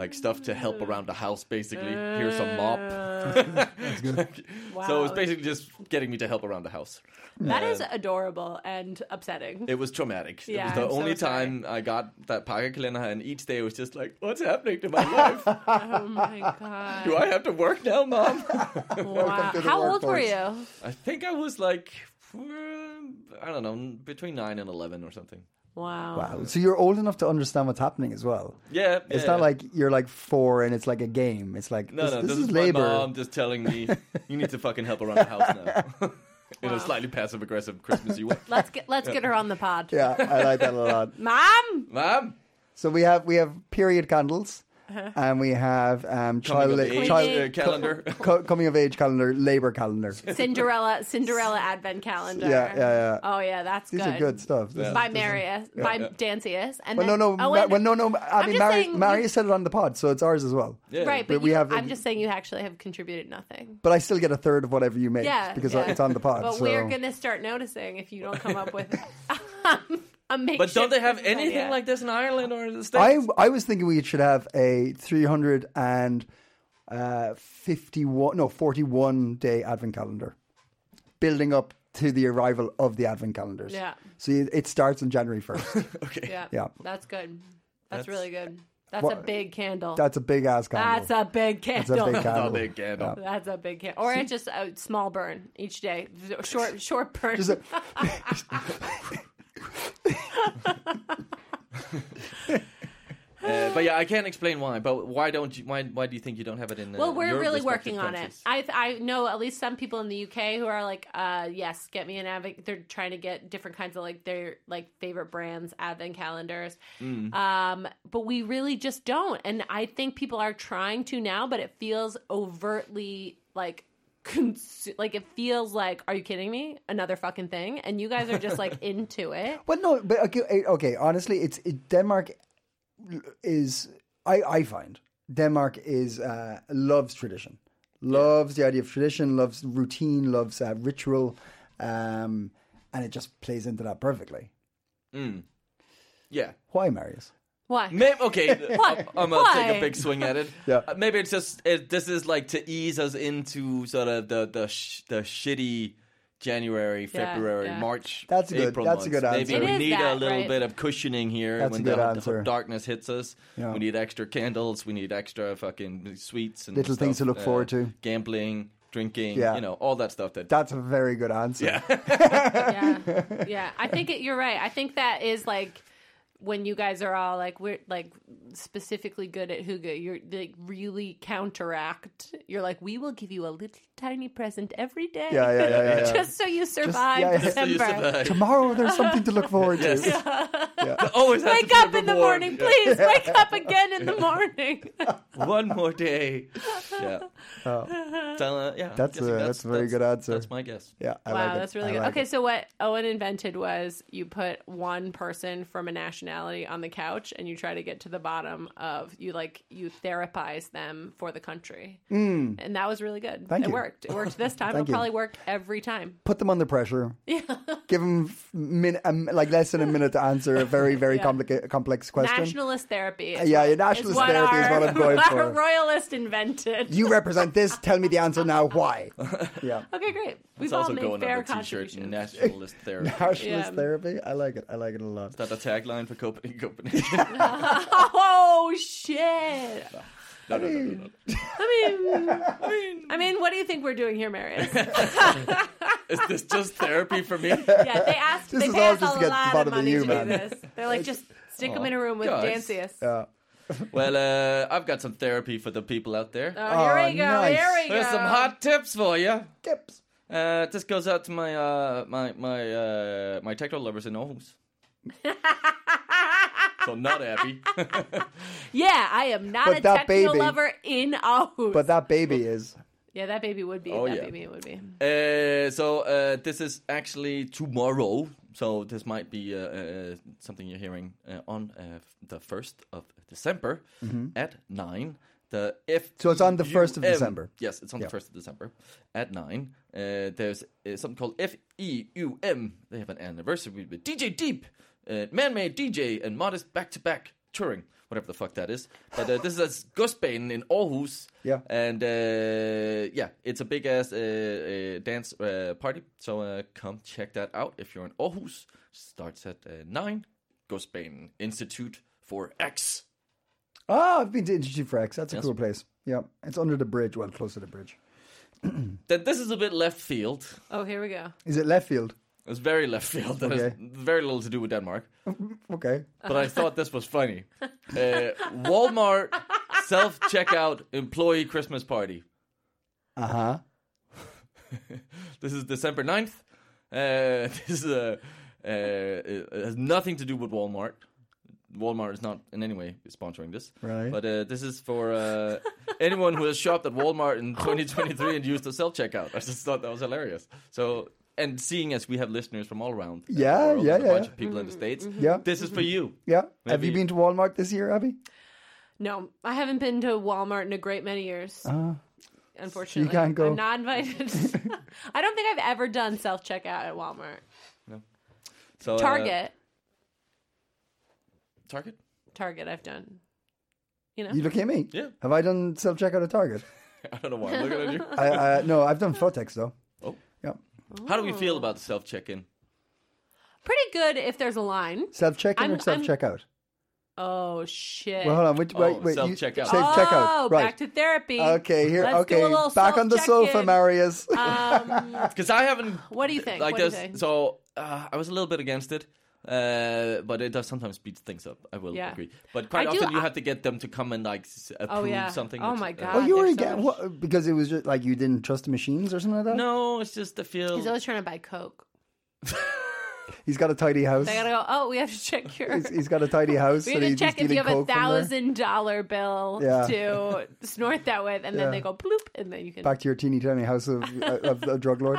[SPEAKER 2] like stuff to
[SPEAKER 3] Oh.
[SPEAKER 2] help around the house. Basically, here's a mop. So it was
[SPEAKER 3] Wow.
[SPEAKER 2] basically just getting me to help around the house.
[SPEAKER 3] That is adorable and upsetting.
[SPEAKER 2] It was traumatic.
[SPEAKER 3] Yeah,
[SPEAKER 2] it was the
[SPEAKER 3] I'm so
[SPEAKER 2] only
[SPEAKER 3] sorry.
[SPEAKER 2] time I got that pocket calendar, and each day was just like, "What's happening to my life?
[SPEAKER 3] oh my god.
[SPEAKER 2] Do I have to work now, mom?"
[SPEAKER 3] Wow.
[SPEAKER 1] to the
[SPEAKER 3] How old were
[SPEAKER 1] workforce.
[SPEAKER 3] you?
[SPEAKER 2] I think I was like um, I don't know, between nine and eleven or something.
[SPEAKER 3] Wow.
[SPEAKER 1] Wow. So you're old enough to understand what's happening as well.
[SPEAKER 2] Yeah,
[SPEAKER 1] It's
[SPEAKER 2] yeah.
[SPEAKER 1] not like you're like four and it's like a game. It's like
[SPEAKER 2] No,
[SPEAKER 1] this,
[SPEAKER 2] no,
[SPEAKER 1] this is
[SPEAKER 2] my
[SPEAKER 1] labor.
[SPEAKER 2] mom just telling me you need to fucking help around the house now. In a slightly passive aggressive Christmassy way.
[SPEAKER 3] Let's get let's get her on the pod.
[SPEAKER 1] Yeah, I like that a lot.
[SPEAKER 3] Mom,
[SPEAKER 2] Mom,
[SPEAKER 1] So we have we have period candles,
[SPEAKER 3] Uh-huh.
[SPEAKER 1] and we have um,
[SPEAKER 2] coming
[SPEAKER 1] child,
[SPEAKER 2] of age,
[SPEAKER 1] child
[SPEAKER 2] uh, calendar.
[SPEAKER 1] co- coming of age calendar, labor calendar.
[SPEAKER 3] Cinderella Cinderella Advent calendar.
[SPEAKER 1] Yeah, yeah, yeah.
[SPEAKER 3] Oh yeah, that's
[SPEAKER 1] These
[SPEAKER 3] good.
[SPEAKER 1] are good stuff. This is-
[SPEAKER 3] By Marius, by Dancius, and
[SPEAKER 1] Well, no,
[SPEAKER 3] then,
[SPEAKER 1] no,
[SPEAKER 3] oh,
[SPEAKER 1] Ma-
[SPEAKER 3] and-
[SPEAKER 1] well, no, no. I
[SPEAKER 3] I'm
[SPEAKER 1] mean,
[SPEAKER 3] just
[SPEAKER 1] Mari-
[SPEAKER 3] saying
[SPEAKER 1] Mari
[SPEAKER 3] you-
[SPEAKER 1] said it on the pod, so it's ours as well.
[SPEAKER 2] Yeah.
[SPEAKER 3] right, but,
[SPEAKER 1] But we
[SPEAKER 3] you,
[SPEAKER 1] have-
[SPEAKER 3] I'm just saying you actually have contributed nothing.
[SPEAKER 1] But I still get a third of whatever you make
[SPEAKER 3] Yeah,
[SPEAKER 1] because
[SPEAKER 3] yeah.
[SPEAKER 1] it's on the pod.
[SPEAKER 3] But
[SPEAKER 1] so.
[SPEAKER 3] we're gonna start noticing if you don't come up with um, a makeshift.
[SPEAKER 2] But don't they have
[SPEAKER 3] Christmas
[SPEAKER 2] anything
[SPEAKER 3] idea.
[SPEAKER 2] like this in Ireland or the
[SPEAKER 1] I
[SPEAKER 2] States?
[SPEAKER 1] I was thinking we should have a 351 uh, no 41 day advent calendar building up to the arrival of the advent calendars.
[SPEAKER 3] Yeah.
[SPEAKER 1] So you- it starts on January 1st.
[SPEAKER 2] okay.
[SPEAKER 3] Yeah,
[SPEAKER 1] Yeah.
[SPEAKER 3] that's good. That's, really good. That's a
[SPEAKER 1] What-
[SPEAKER 3] big candle.
[SPEAKER 1] That's a big ass calendar.
[SPEAKER 3] That's a big
[SPEAKER 1] That's a
[SPEAKER 3] candle.
[SPEAKER 1] big
[SPEAKER 2] Oh,
[SPEAKER 1] candle.
[SPEAKER 2] they get them.
[SPEAKER 3] That's a big candle. Or it's just a small burn each day. Short, short burn.
[SPEAKER 1] Just a-
[SPEAKER 2] Uh, but yeah, I can't explain why. But why don't you? Why why do you think you don't have it in? Uh,
[SPEAKER 3] Well, we're
[SPEAKER 2] your
[SPEAKER 3] really
[SPEAKER 2] respective
[SPEAKER 3] working on it.
[SPEAKER 2] countries?
[SPEAKER 3] I I know at least some people in the UK who are like, uh, yes, get me an advent. They're trying to get different kinds of like their like favorite brands advent calendars.
[SPEAKER 2] Mm.
[SPEAKER 3] Um, but we really just don't, and I think people are trying to now, but it feels overtly like. Cons- like it feels like are you kidding me another fucking thing and you guys are just like into it
[SPEAKER 1] Well, no, but okay, eh, okay honestly, it's it, Denmark is I I find Denmark is uh, loves tradition, loves the idea of tradition, loves routine, loves uh, ritual, um, and it just plays into that perfectly.
[SPEAKER 2] yeah.
[SPEAKER 1] Why, Marius?
[SPEAKER 3] why
[SPEAKER 2] Maybe, okay, I'm, I'm gonna take
[SPEAKER 3] Why?
[SPEAKER 2] a big swing at it.
[SPEAKER 1] Yeah.
[SPEAKER 2] Uh, maybe it's just it, this is like to ease us into sort of the the sh- the shitty January, February,
[SPEAKER 3] yeah.
[SPEAKER 2] March.
[SPEAKER 1] That's a good-
[SPEAKER 2] April
[SPEAKER 1] that's a
[SPEAKER 2] months.
[SPEAKER 1] good
[SPEAKER 2] Maybe
[SPEAKER 1] answer.
[SPEAKER 3] It
[SPEAKER 2] we
[SPEAKER 3] is
[SPEAKER 2] need a
[SPEAKER 3] that,
[SPEAKER 2] little
[SPEAKER 3] right?
[SPEAKER 2] bit of cushioning here
[SPEAKER 1] That's
[SPEAKER 2] when
[SPEAKER 1] a good
[SPEAKER 2] the,
[SPEAKER 1] answer.
[SPEAKER 2] the darkness hits us.
[SPEAKER 1] Yeah.
[SPEAKER 2] We need extra candles. We need extra fucking sweets and
[SPEAKER 1] Little things
[SPEAKER 2] stuff,
[SPEAKER 1] to
[SPEAKER 2] uh,
[SPEAKER 1] look forward to.
[SPEAKER 2] Gambling, drinking,
[SPEAKER 1] Yeah.
[SPEAKER 2] you know, all that stuff. That,
[SPEAKER 1] That's a very good answer.
[SPEAKER 3] yeah, yeah. I think it, you're right. I think that is like when you guys are all like we're like specifically good at huga. You're like really counteract. You're like we will give you a little tiny present every day,
[SPEAKER 1] Yeah, yeah, yeah, yeah, yeah.
[SPEAKER 3] just so you survive
[SPEAKER 1] yeah, yeah. Just
[SPEAKER 2] So you
[SPEAKER 3] December.
[SPEAKER 2] survive.
[SPEAKER 1] Tomorrow there's something to look forward to.
[SPEAKER 2] Always have to
[SPEAKER 3] Wake
[SPEAKER 2] be
[SPEAKER 3] up in the
[SPEAKER 2] reborn.
[SPEAKER 3] morning,
[SPEAKER 2] Yeah.
[SPEAKER 3] please. Wake up again in the morning.
[SPEAKER 2] one more day. Yeah. Tell, uh, yeah, I'm
[SPEAKER 1] Oh. That's
[SPEAKER 2] guessing
[SPEAKER 1] a- that's a very good answer.
[SPEAKER 2] That's my guess.
[SPEAKER 1] Yeah, I
[SPEAKER 3] wow,
[SPEAKER 1] like it.
[SPEAKER 3] that's really
[SPEAKER 1] I
[SPEAKER 3] good.
[SPEAKER 1] like
[SPEAKER 3] okay,
[SPEAKER 1] it.
[SPEAKER 3] so what Owen invented was you put one person from a nationality on the couch and you try to get to the bottom of you like you therapize them for the country. Mm. And that was really good.
[SPEAKER 1] Hmm. Thank
[SPEAKER 3] it
[SPEAKER 1] you.
[SPEAKER 3] worked. It worked this time. It'll
[SPEAKER 1] Thank you.
[SPEAKER 3] probably work every time.
[SPEAKER 1] Put them under pressure. Yeah. Give them min- um, like less than a minute to answer a very very complica- complex question. Uh,
[SPEAKER 3] Nationalist therapy. Is
[SPEAKER 1] Yeah,
[SPEAKER 3] what-
[SPEAKER 1] yeah, nationalist
[SPEAKER 3] what
[SPEAKER 1] therapy is
[SPEAKER 3] our-
[SPEAKER 1] what I'm going
[SPEAKER 3] our
[SPEAKER 1] for.
[SPEAKER 3] royalist invented.
[SPEAKER 1] you represent this. Tell me the answer now. Why? Yeah.
[SPEAKER 3] okay, great. We've
[SPEAKER 2] It's
[SPEAKER 3] all
[SPEAKER 2] also
[SPEAKER 3] made
[SPEAKER 2] going on
[SPEAKER 3] fair
[SPEAKER 2] a t-shirt,
[SPEAKER 3] contributions.
[SPEAKER 2] nationalist therapy. Is
[SPEAKER 1] Nationalist
[SPEAKER 3] Yeah.
[SPEAKER 1] therapy. I like it. I like it a lot.
[SPEAKER 2] that the tagline for Copen- Copenhagen?
[SPEAKER 3] oh shit!
[SPEAKER 2] no, no, no, no, no.
[SPEAKER 3] I mean, I mean, what do you think we're doing here, Marius?
[SPEAKER 2] Is this just therapy for me?
[SPEAKER 3] Yeah, they asked.
[SPEAKER 1] This
[SPEAKER 3] they
[SPEAKER 1] is
[SPEAKER 3] pay
[SPEAKER 1] all
[SPEAKER 3] us
[SPEAKER 1] just
[SPEAKER 3] all
[SPEAKER 1] to get
[SPEAKER 3] a
[SPEAKER 1] to
[SPEAKER 3] lot
[SPEAKER 1] bottom of
[SPEAKER 3] of money
[SPEAKER 1] you,
[SPEAKER 3] to
[SPEAKER 1] man.
[SPEAKER 3] do this. They're like, just stick them in a room with
[SPEAKER 2] guys.
[SPEAKER 3] Dancius.
[SPEAKER 2] Well, uh, I've got some therapy for the people out there.
[SPEAKER 3] Oh, here we go.
[SPEAKER 1] nice.
[SPEAKER 3] Here we go.
[SPEAKER 2] There's some hot tips for you.
[SPEAKER 1] Tips.
[SPEAKER 2] Uh, this goes out to my uh, my my uh, my techno lovers in Aarhus. so not happy.
[SPEAKER 3] Yeah, I am not
[SPEAKER 1] But
[SPEAKER 3] a
[SPEAKER 1] that
[SPEAKER 3] techno
[SPEAKER 1] baby-
[SPEAKER 3] lover in Aarhus.
[SPEAKER 1] But that baby is.
[SPEAKER 3] yeah, that baby would be.
[SPEAKER 2] Oh,
[SPEAKER 3] that
[SPEAKER 2] yeah.
[SPEAKER 3] baby would be.
[SPEAKER 2] Uh, so uh, this is actually tomorrow. So this might be uh, uh, something you're hearing uh, on uh, f- the first of December at nine. The if
[SPEAKER 1] Mm-hmm. So it's on the 1st of December.
[SPEAKER 2] Yes, it's on
[SPEAKER 1] Yeah.
[SPEAKER 2] the first of December at nine. Uh, there's uh, something called FEUM. They have an anniversary with DJ Deep, uh, man-made DJ, and modest back-to-back touring, whatever the fuck that is. But uh, this is at Gospin in Aarhus.
[SPEAKER 1] Yeah.
[SPEAKER 2] And uh, yeah, it's a big ass uh, uh, dance uh, party. So uh, come check that out if you're in Aarhus. Starts at uh, 9. Gospin Institute for X.
[SPEAKER 1] Oh, I've been to Institute for X. That's a
[SPEAKER 2] Yes.
[SPEAKER 1] cool place. Yeah, it's under the bridge. Well, close to the bridge.
[SPEAKER 2] Then this is a bit left field.
[SPEAKER 3] Oh, here we go.
[SPEAKER 1] Is it left field?
[SPEAKER 2] It was very left field. That has
[SPEAKER 1] Okay.
[SPEAKER 2] very little to do with Denmark.
[SPEAKER 1] Okay.
[SPEAKER 2] But I thought this was funny. Uh, Walmart self checkout employee Christmas party.
[SPEAKER 1] Uh huh.
[SPEAKER 2] This is December 9th. Uh, this is a, uh, it it has nothing to do with Walmart. Walmart is not in any way sponsoring this.
[SPEAKER 1] Right.
[SPEAKER 2] But uh, this is for uh, anyone who has shopped at Walmart in 2023 and used a self checkout. I just thought that was hilarious. So, and seeing as we have listeners from all around, uh, the
[SPEAKER 1] Yeah,
[SPEAKER 2] world
[SPEAKER 1] yeah,
[SPEAKER 2] and
[SPEAKER 1] yeah.
[SPEAKER 2] a
[SPEAKER 1] Mm-hmm.
[SPEAKER 2] bunch of people in the states,
[SPEAKER 1] Yeah.
[SPEAKER 2] this is for you.
[SPEAKER 1] Yeah. Have you
[SPEAKER 2] Maybe-
[SPEAKER 1] been to Walmart this year, Abby?
[SPEAKER 3] No, I haven't been to Walmart in a great many years.
[SPEAKER 2] Uh,
[SPEAKER 3] unfortunately,
[SPEAKER 1] you can't go.
[SPEAKER 3] I'm not invited. I don't think I've ever done self checkout at Walmart.
[SPEAKER 2] So uh,
[SPEAKER 3] Target,
[SPEAKER 2] Target.
[SPEAKER 3] Target, I've done. You know,
[SPEAKER 1] You look at me.
[SPEAKER 2] Yeah.
[SPEAKER 1] Have I done self checkout at Target?
[SPEAKER 2] I don't know why I'm looking at you.
[SPEAKER 1] I, I no, I've done Fotex though.
[SPEAKER 2] Oh.
[SPEAKER 1] Yeah.
[SPEAKER 2] How do we feel about self check-in?
[SPEAKER 3] pretty good if there's a line.
[SPEAKER 1] Self check in
[SPEAKER 3] I'm-
[SPEAKER 1] or self checkout?
[SPEAKER 3] Oh shit!
[SPEAKER 1] Well, hold on. Wait, wait,
[SPEAKER 2] Oh,
[SPEAKER 1] wait. you-
[SPEAKER 2] self-checkout.
[SPEAKER 1] Self checkout.
[SPEAKER 3] Oh,
[SPEAKER 1] right.
[SPEAKER 3] back to therapy.
[SPEAKER 1] Okay, here.
[SPEAKER 3] Let's do
[SPEAKER 1] okay,
[SPEAKER 3] a little Ah,
[SPEAKER 1] back on the sofa,
[SPEAKER 3] self-check-in.
[SPEAKER 1] Marius.
[SPEAKER 2] Because I haven't.
[SPEAKER 3] What do you think?
[SPEAKER 2] Like
[SPEAKER 3] What do you
[SPEAKER 2] this,
[SPEAKER 3] think?
[SPEAKER 2] so uh, I was a little bit against it, uh, but it does sometimes speed things up. I will
[SPEAKER 3] Yeah.
[SPEAKER 2] agree. But quite
[SPEAKER 3] I do-
[SPEAKER 2] often you
[SPEAKER 3] I-
[SPEAKER 2] have to get them to come and like s- approve
[SPEAKER 3] yeah.
[SPEAKER 2] something.
[SPEAKER 3] Oh
[SPEAKER 2] which-
[SPEAKER 3] my
[SPEAKER 2] uh,
[SPEAKER 3] God.
[SPEAKER 1] oh, you were
[SPEAKER 3] there's so
[SPEAKER 1] again
[SPEAKER 3] much-
[SPEAKER 1] what, because it was just like you didn't trust the machines or something like that.
[SPEAKER 2] no, it's just the feel.
[SPEAKER 3] He's always trying to buy coke.
[SPEAKER 1] he's got a tidy house.
[SPEAKER 3] I gotta go. Oh, we have to check your.
[SPEAKER 1] He's- he's got a tidy house.
[SPEAKER 3] we
[SPEAKER 1] so
[SPEAKER 3] have to
[SPEAKER 1] he's
[SPEAKER 3] check if you
[SPEAKER 1] stealing
[SPEAKER 3] have a
[SPEAKER 1] coke from there.
[SPEAKER 3] thousand dollar bill
[SPEAKER 1] Yeah.
[SPEAKER 3] to snort that with, and then they go bloop, and then you can.
[SPEAKER 1] Back to your teeny tiny house of, uh, of a drug lord.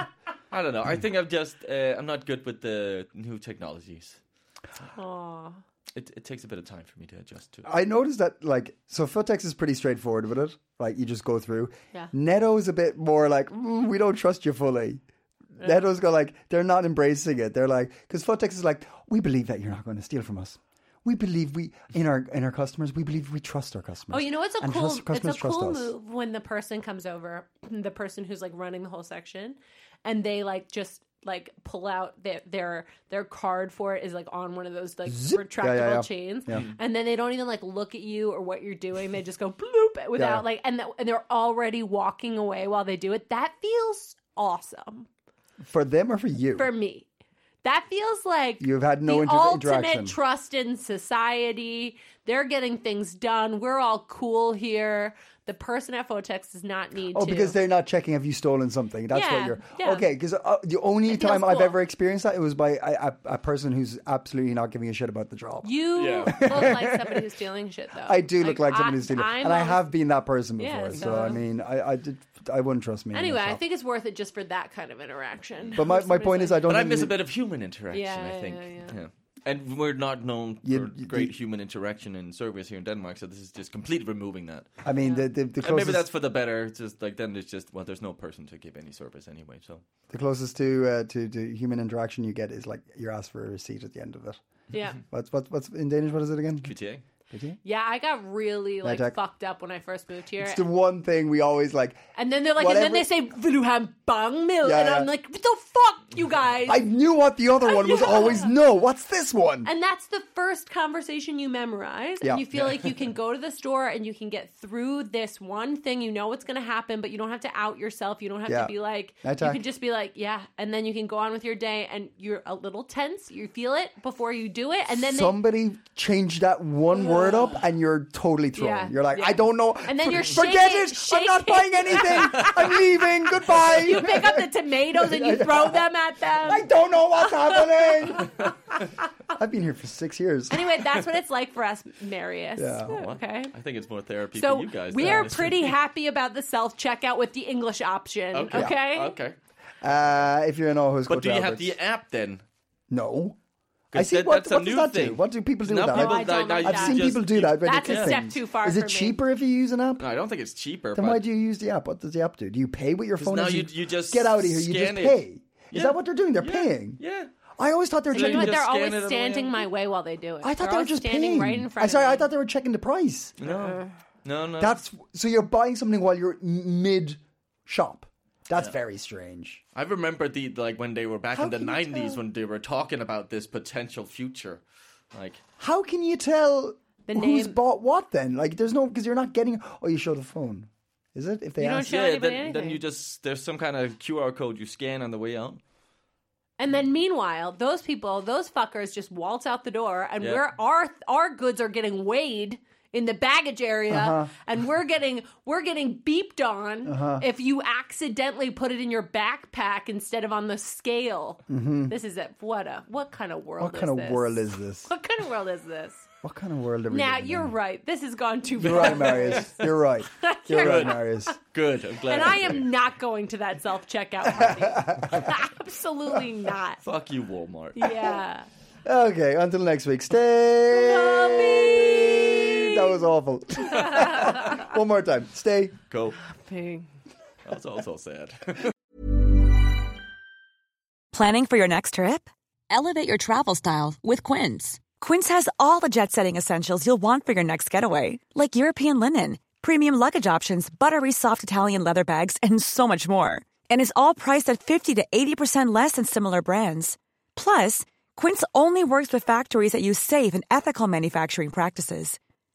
[SPEAKER 2] I don't know. I think I'm just. Uh, I'm not good with the new technologies.
[SPEAKER 3] Aw.
[SPEAKER 2] It, it takes a bit of time for me to adjust to.
[SPEAKER 1] I noticed that, like, so Footex is pretty straightforward with it. Like, you just go through.
[SPEAKER 3] Yeah.
[SPEAKER 1] Netto is a bit more like, mm, we don't trust you fully. Netto's go like, they're not embracing it. They're like, because Footex is like, we believe that you're not going to steal from us. We believe we in our in our customers. We believe we trust our customers.
[SPEAKER 3] Oh, you know what's a
[SPEAKER 1] And
[SPEAKER 3] cool?
[SPEAKER 1] trust-
[SPEAKER 3] It's a
[SPEAKER 1] customers trust
[SPEAKER 3] cool
[SPEAKER 1] us.
[SPEAKER 3] move when the person comes over, the person who's like running the whole section, and they like just like pull out their their, their card for it is like on one of those like retractable
[SPEAKER 1] Yeah, yeah, yeah.
[SPEAKER 3] chains,
[SPEAKER 1] Yeah.
[SPEAKER 3] and then they don't even like look at you or what you're doing. They just go bloop without
[SPEAKER 1] Yeah.
[SPEAKER 3] like, and, that, and they're already walking away while they do it. That feels awesome
[SPEAKER 1] For them or for you?
[SPEAKER 3] for me. That feels like
[SPEAKER 1] You've had no
[SPEAKER 3] the
[SPEAKER 1] inter- interaction.
[SPEAKER 3] ultimate trust in society. They're getting things done. We're all cool here. The person at Fotex does not need
[SPEAKER 1] Oh,
[SPEAKER 3] to.
[SPEAKER 1] because they're not checking have you stolen something. That's what
[SPEAKER 3] Yeah,
[SPEAKER 1] you're
[SPEAKER 3] yeah.
[SPEAKER 1] okay. Because uh, the only
[SPEAKER 3] It feels
[SPEAKER 1] time I've
[SPEAKER 3] cool.
[SPEAKER 1] ever experienced that it was by a, a, a person who's absolutely not giving a shit about the job.
[SPEAKER 3] you look like somebody who's stealing shit, though.
[SPEAKER 1] I do look like someone
[SPEAKER 3] I-
[SPEAKER 1] who's stealing,
[SPEAKER 3] I'm
[SPEAKER 1] and I
[SPEAKER 3] always-
[SPEAKER 1] have been that person before.
[SPEAKER 3] Yeah,
[SPEAKER 1] so,
[SPEAKER 3] so-
[SPEAKER 1] I mean, I, I did. I wouldn't trust me. in a
[SPEAKER 3] Anyway, I
[SPEAKER 1] shop.
[SPEAKER 3] think it's worth it just for that kind of interaction.
[SPEAKER 1] But my, my point is, I don't.
[SPEAKER 2] but I
[SPEAKER 1] think
[SPEAKER 2] miss
[SPEAKER 1] you-
[SPEAKER 2] a bit of human interaction.
[SPEAKER 3] Yeah,
[SPEAKER 2] I think.
[SPEAKER 3] yeah, yeah.
[SPEAKER 2] And we're not known for
[SPEAKER 1] You- you-
[SPEAKER 2] great human interaction and service here in Denmark, so this is just completely removing that.
[SPEAKER 1] I mean, the the, the
[SPEAKER 2] And
[SPEAKER 1] closest
[SPEAKER 2] maybe that's for the better. It's just like then it's just well, there's no person to give any service anyway. So
[SPEAKER 1] the closest to, uh, to to human interaction you get is like you're asked for a receipt at the end of it.
[SPEAKER 3] yeah,
[SPEAKER 1] What's what's what's in Danish? What is it again?
[SPEAKER 2] QTA.
[SPEAKER 3] yeah, I got really like
[SPEAKER 1] Maytag.
[SPEAKER 3] fucked up when I first moved here,
[SPEAKER 1] It's the one thing we always like.
[SPEAKER 3] and then they're like, and then they
[SPEAKER 1] whatever-
[SPEAKER 3] say "Vilhelm Bang Mill,"
[SPEAKER 1] Yeah,
[SPEAKER 3] and I'm
[SPEAKER 1] yeah.
[SPEAKER 3] like, "What the fuck, you guys?"
[SPEAKER 1] I knew what the other one was
[SPEAKER 3] Yeah.
[SPEAKER 1] always. No, what's this one?
[SPEAKER 3] And that's the first conversation you memorize.
[SPEAKER 1] Yeah.
[SPEAKER 3] And you feel like you can go to the store and you can get through this one thing. You know what's going to happen, but you don't have to out yourself. You don't have
[SPEAKER 1] Yeah.
[SPEAKER 3] to be like,
[SPEAKER 1] That's
[SPEAKER 3] you
[SPEAKER 1] ac-
[SPEAKER 3] can just be like, yeah. And then you can go on with your day and you're a little tense. You feel it before you do it. And then they.
[SPEAKER 1] Somebody changed that one word up, and you're totally thrown.
[SPEAKER 3] Yeah,
[SPEAKER 1] you're like,
[SPEAKER 3] yeah.
[SPEAKER 1] I don't know.
[SPEAKER 3] And then
[SPEAKER 1] For-
[SPEAKER 3] you're
[SPEAKER 1] forget
[SPEAKER 3] shaking-
[SPEAKER 1] it. I'm not
[SPEAKER 3] shaking.
[SPEAKER 1] buying anything. I'm leaving. Goodbye.
[SPEAKER 3] You pick up the tomatoes and you throw them at them.
[SPEAKER 1] I don't know what's happening. I've been here for six years.
[SPEAKER 3] Anyway, that's what it's like for us, Marius.
[SPEAKER 1] Yeah. Oh,
[SPEAKER 3] Okay.
[SPEAKER 2] I think it's more therapy
[SPEAKER 3] So
[SPEAKER 2] for you guys.
[SPEAKER 3] we
[SPEAKER 2] than
[SPEAKER 3] are
[SPEAKER 2] it is for
[SPEAKER 3] pretty
[SPEAKER 2] me.
[SPEAKER 3] happy about the self checkout with the English option. Okay.
[SPEAKER 2] Okay.
[SPEAKER 1] Uh, if you're in Aarhus, go
[SPEAKER 2] But
[SPEAKER 1] to
[SPEAKER 2] do you have
[SPEAKER 1] Albert's.
[SPEAKER 2] the app then?
[SPEAKER 1] No.
[SPEAKER 2] 'Cause
[SPEAKER 1] I see.
[SPEAKER 2] that-
[SPEAKER 1] what
[SPEAKER 2] that's a
[SPEAKER 1] what does
[SPEAKER 2] new
[SPEAKER 1] that do?
[SPEAKER 2] thing.
[SPEAKER 1] What do people do
[SPEAKER 2] Now
[SPEAKER 1] with that?
[SPEAKER 2] people
[SPEAKER 3] I don't like
[SPEAKER 2] like- like
[SPEAKER 3] that.
[SPEAKER 1] I've
[SPEAKER 3] just-
[SPEAKER 1] seen people do that. When
[SPEAKER 3] That's
[SPEAKER 1] it's
[SPEAKER 3] a
[SPEAKER 1] thing.
[SPEAKER 3] step too far
[SPEAKER 1] Is it
[SPEAKER 3] for me.
[SPEAKER 1] cheaper if you use an app?
[SPEAKER 2] No, I don't think it's cheaper.
[SPEAKER 1] Then
[SPEAKER 2] but
[SPEAKER 1] why do you use the app? What does the app do? Do you pay with your
[SPEAKER 2] 'Cause
[SPEAKER 1] phone?
[SPEAKER 2] now
[SPEAKER 1] Is
[SPEAKER 2] you- you just
[SPEAKER 1] get out of here. You just
[SPEAKER 2] scan it.
[SPEAKER 1] pay. Is
[SPEAKER 2] Yeah.
[SPEAKER 1] that what they're doing? They're
[SPEAKER 2] Yeah.
[SPEAKER 1] paying.
[SPEAKER 2] Yeah.
[SPEAKER 1] I always thought they were
[SPEAKER 3] You know
[SPEAKER 1] checking.
[SPEAKER 3] what?
[SPEAKER 1] the-
[SPEAKER 3] They're
[SPEAKER 2] just scan it
[SPEAKER 3] always
[SPEAKER 2] and
[SPEAKER 3] standing
[SPEAKER 2] wheel.
[SPEAKER 3] my way while they do it.
[SPEAKER 1] I thought
[SPEAKER 3] They're
[SPEAKER 1] they were
[SPEAKER 3] always
[SPEAKER 1] just
[SPEAKER 3] standing
[SPEAKER 1] paying.
[SPEAKER 3] right in front.
[SPEAKER 1] I sorry.
[SPEAKER 3] of me.
[SPEAKER 1] I thought they were checking the price.
[SPEAKER 2] No. No, no.
[SPEAKER 1] That's so you're buying something while you're mid shop. That's very strange.
[SPEAKER 2] I remember the like when they were back
[SPEAKER 1] How
[SPEAKER 2] in the
[SPEAKER 1] can you
[SPEAKER 2] nineties
[SPEAKER 1] tell?
[SPEAKER 2] when they were talking about this potential future. Like
[SPEAKER 1] How can you tell
[SPEAKER 3] The
[SPEAKER 1] who's
[SPEAKER 3] name-
[SPEAKER 1] bought what then? Like, there's no because you're not getting. Oh, you show the phone. Is it if they
[SPEAKER 3] You don't
[SPEAKER 1] ask?
[SPEAKER 3] show-
[SPEAKER 2] yeah,
[SPEAKER 3] anybody
[SPEAKER 2] then, then
[SPEAKER 3] anything.
[SPEAKER 2] you just there's some kind of QR code you scan on the way out.
[SPEAKER 3] And then meanwhile, those people, those fuckers just waltz out the door and
[SPEAKER 2] Yeah.
[SPEAKER 3] we're our our goods are getting weighed in the baggage area
[SPEAKER 1] Uh-huh.
[SPEAKER 3] and we're getting we're getting beeped on if you accidentally put it in your backpack instead of on the scale. This is a what a what kind of
[SPEAKER 1] Mm-hmm. What
[SPEAKER 3] world is
[SPEAKER 1] kind
[SPEAKER 3] this?
[SPEAKER 1] of world is this?
[SPEAKER 3] What kind of world is this?
[SPEAKER 1] What kind of world are we
[SPEAKER 3] Now
[SPEAKER 1] living in?
[SPEAKER 3] you're right. This has gone too
[SPEAKER 1] You're
[SPEAKER 3] far.
[SPEAKER 1] right, Marius. You're right. You're right, Marius.
[SPEAKER 2] Good. I'm glad.
[SPEAKER 3] And
[SPEAKER 2] I
[SPEAKER 3] I
[SPEAKER 2] did that.
[SPEAKER 3] am not going to that self checkout party. Absolutely not.
[SPEAKER 2] Fuck you, Walmart.
[SPEAKER 3] Yeah.
[SPEAKER 1] Okay, until next week. Stay. That was awful. One more time. Stay.
[SPEAKER 2] Go.
[SPEAKER 3] Ping.
[SPEAKER 2] That's also sad.
[SPEAKER 6] Planning for your next trip?
[SPEAKER 7] Elevate your travel style with Quince.
[SPEAKER 6] Quince has all the jet setting essentials you'll want for your next getaway, like European linen, premium luggage options, buttery soft Italian leather bags, and so much more. And is all priced at 50 to 80% less than similar brands. Plus, Quince only works with factories that use safe and ethical manufacturing practices.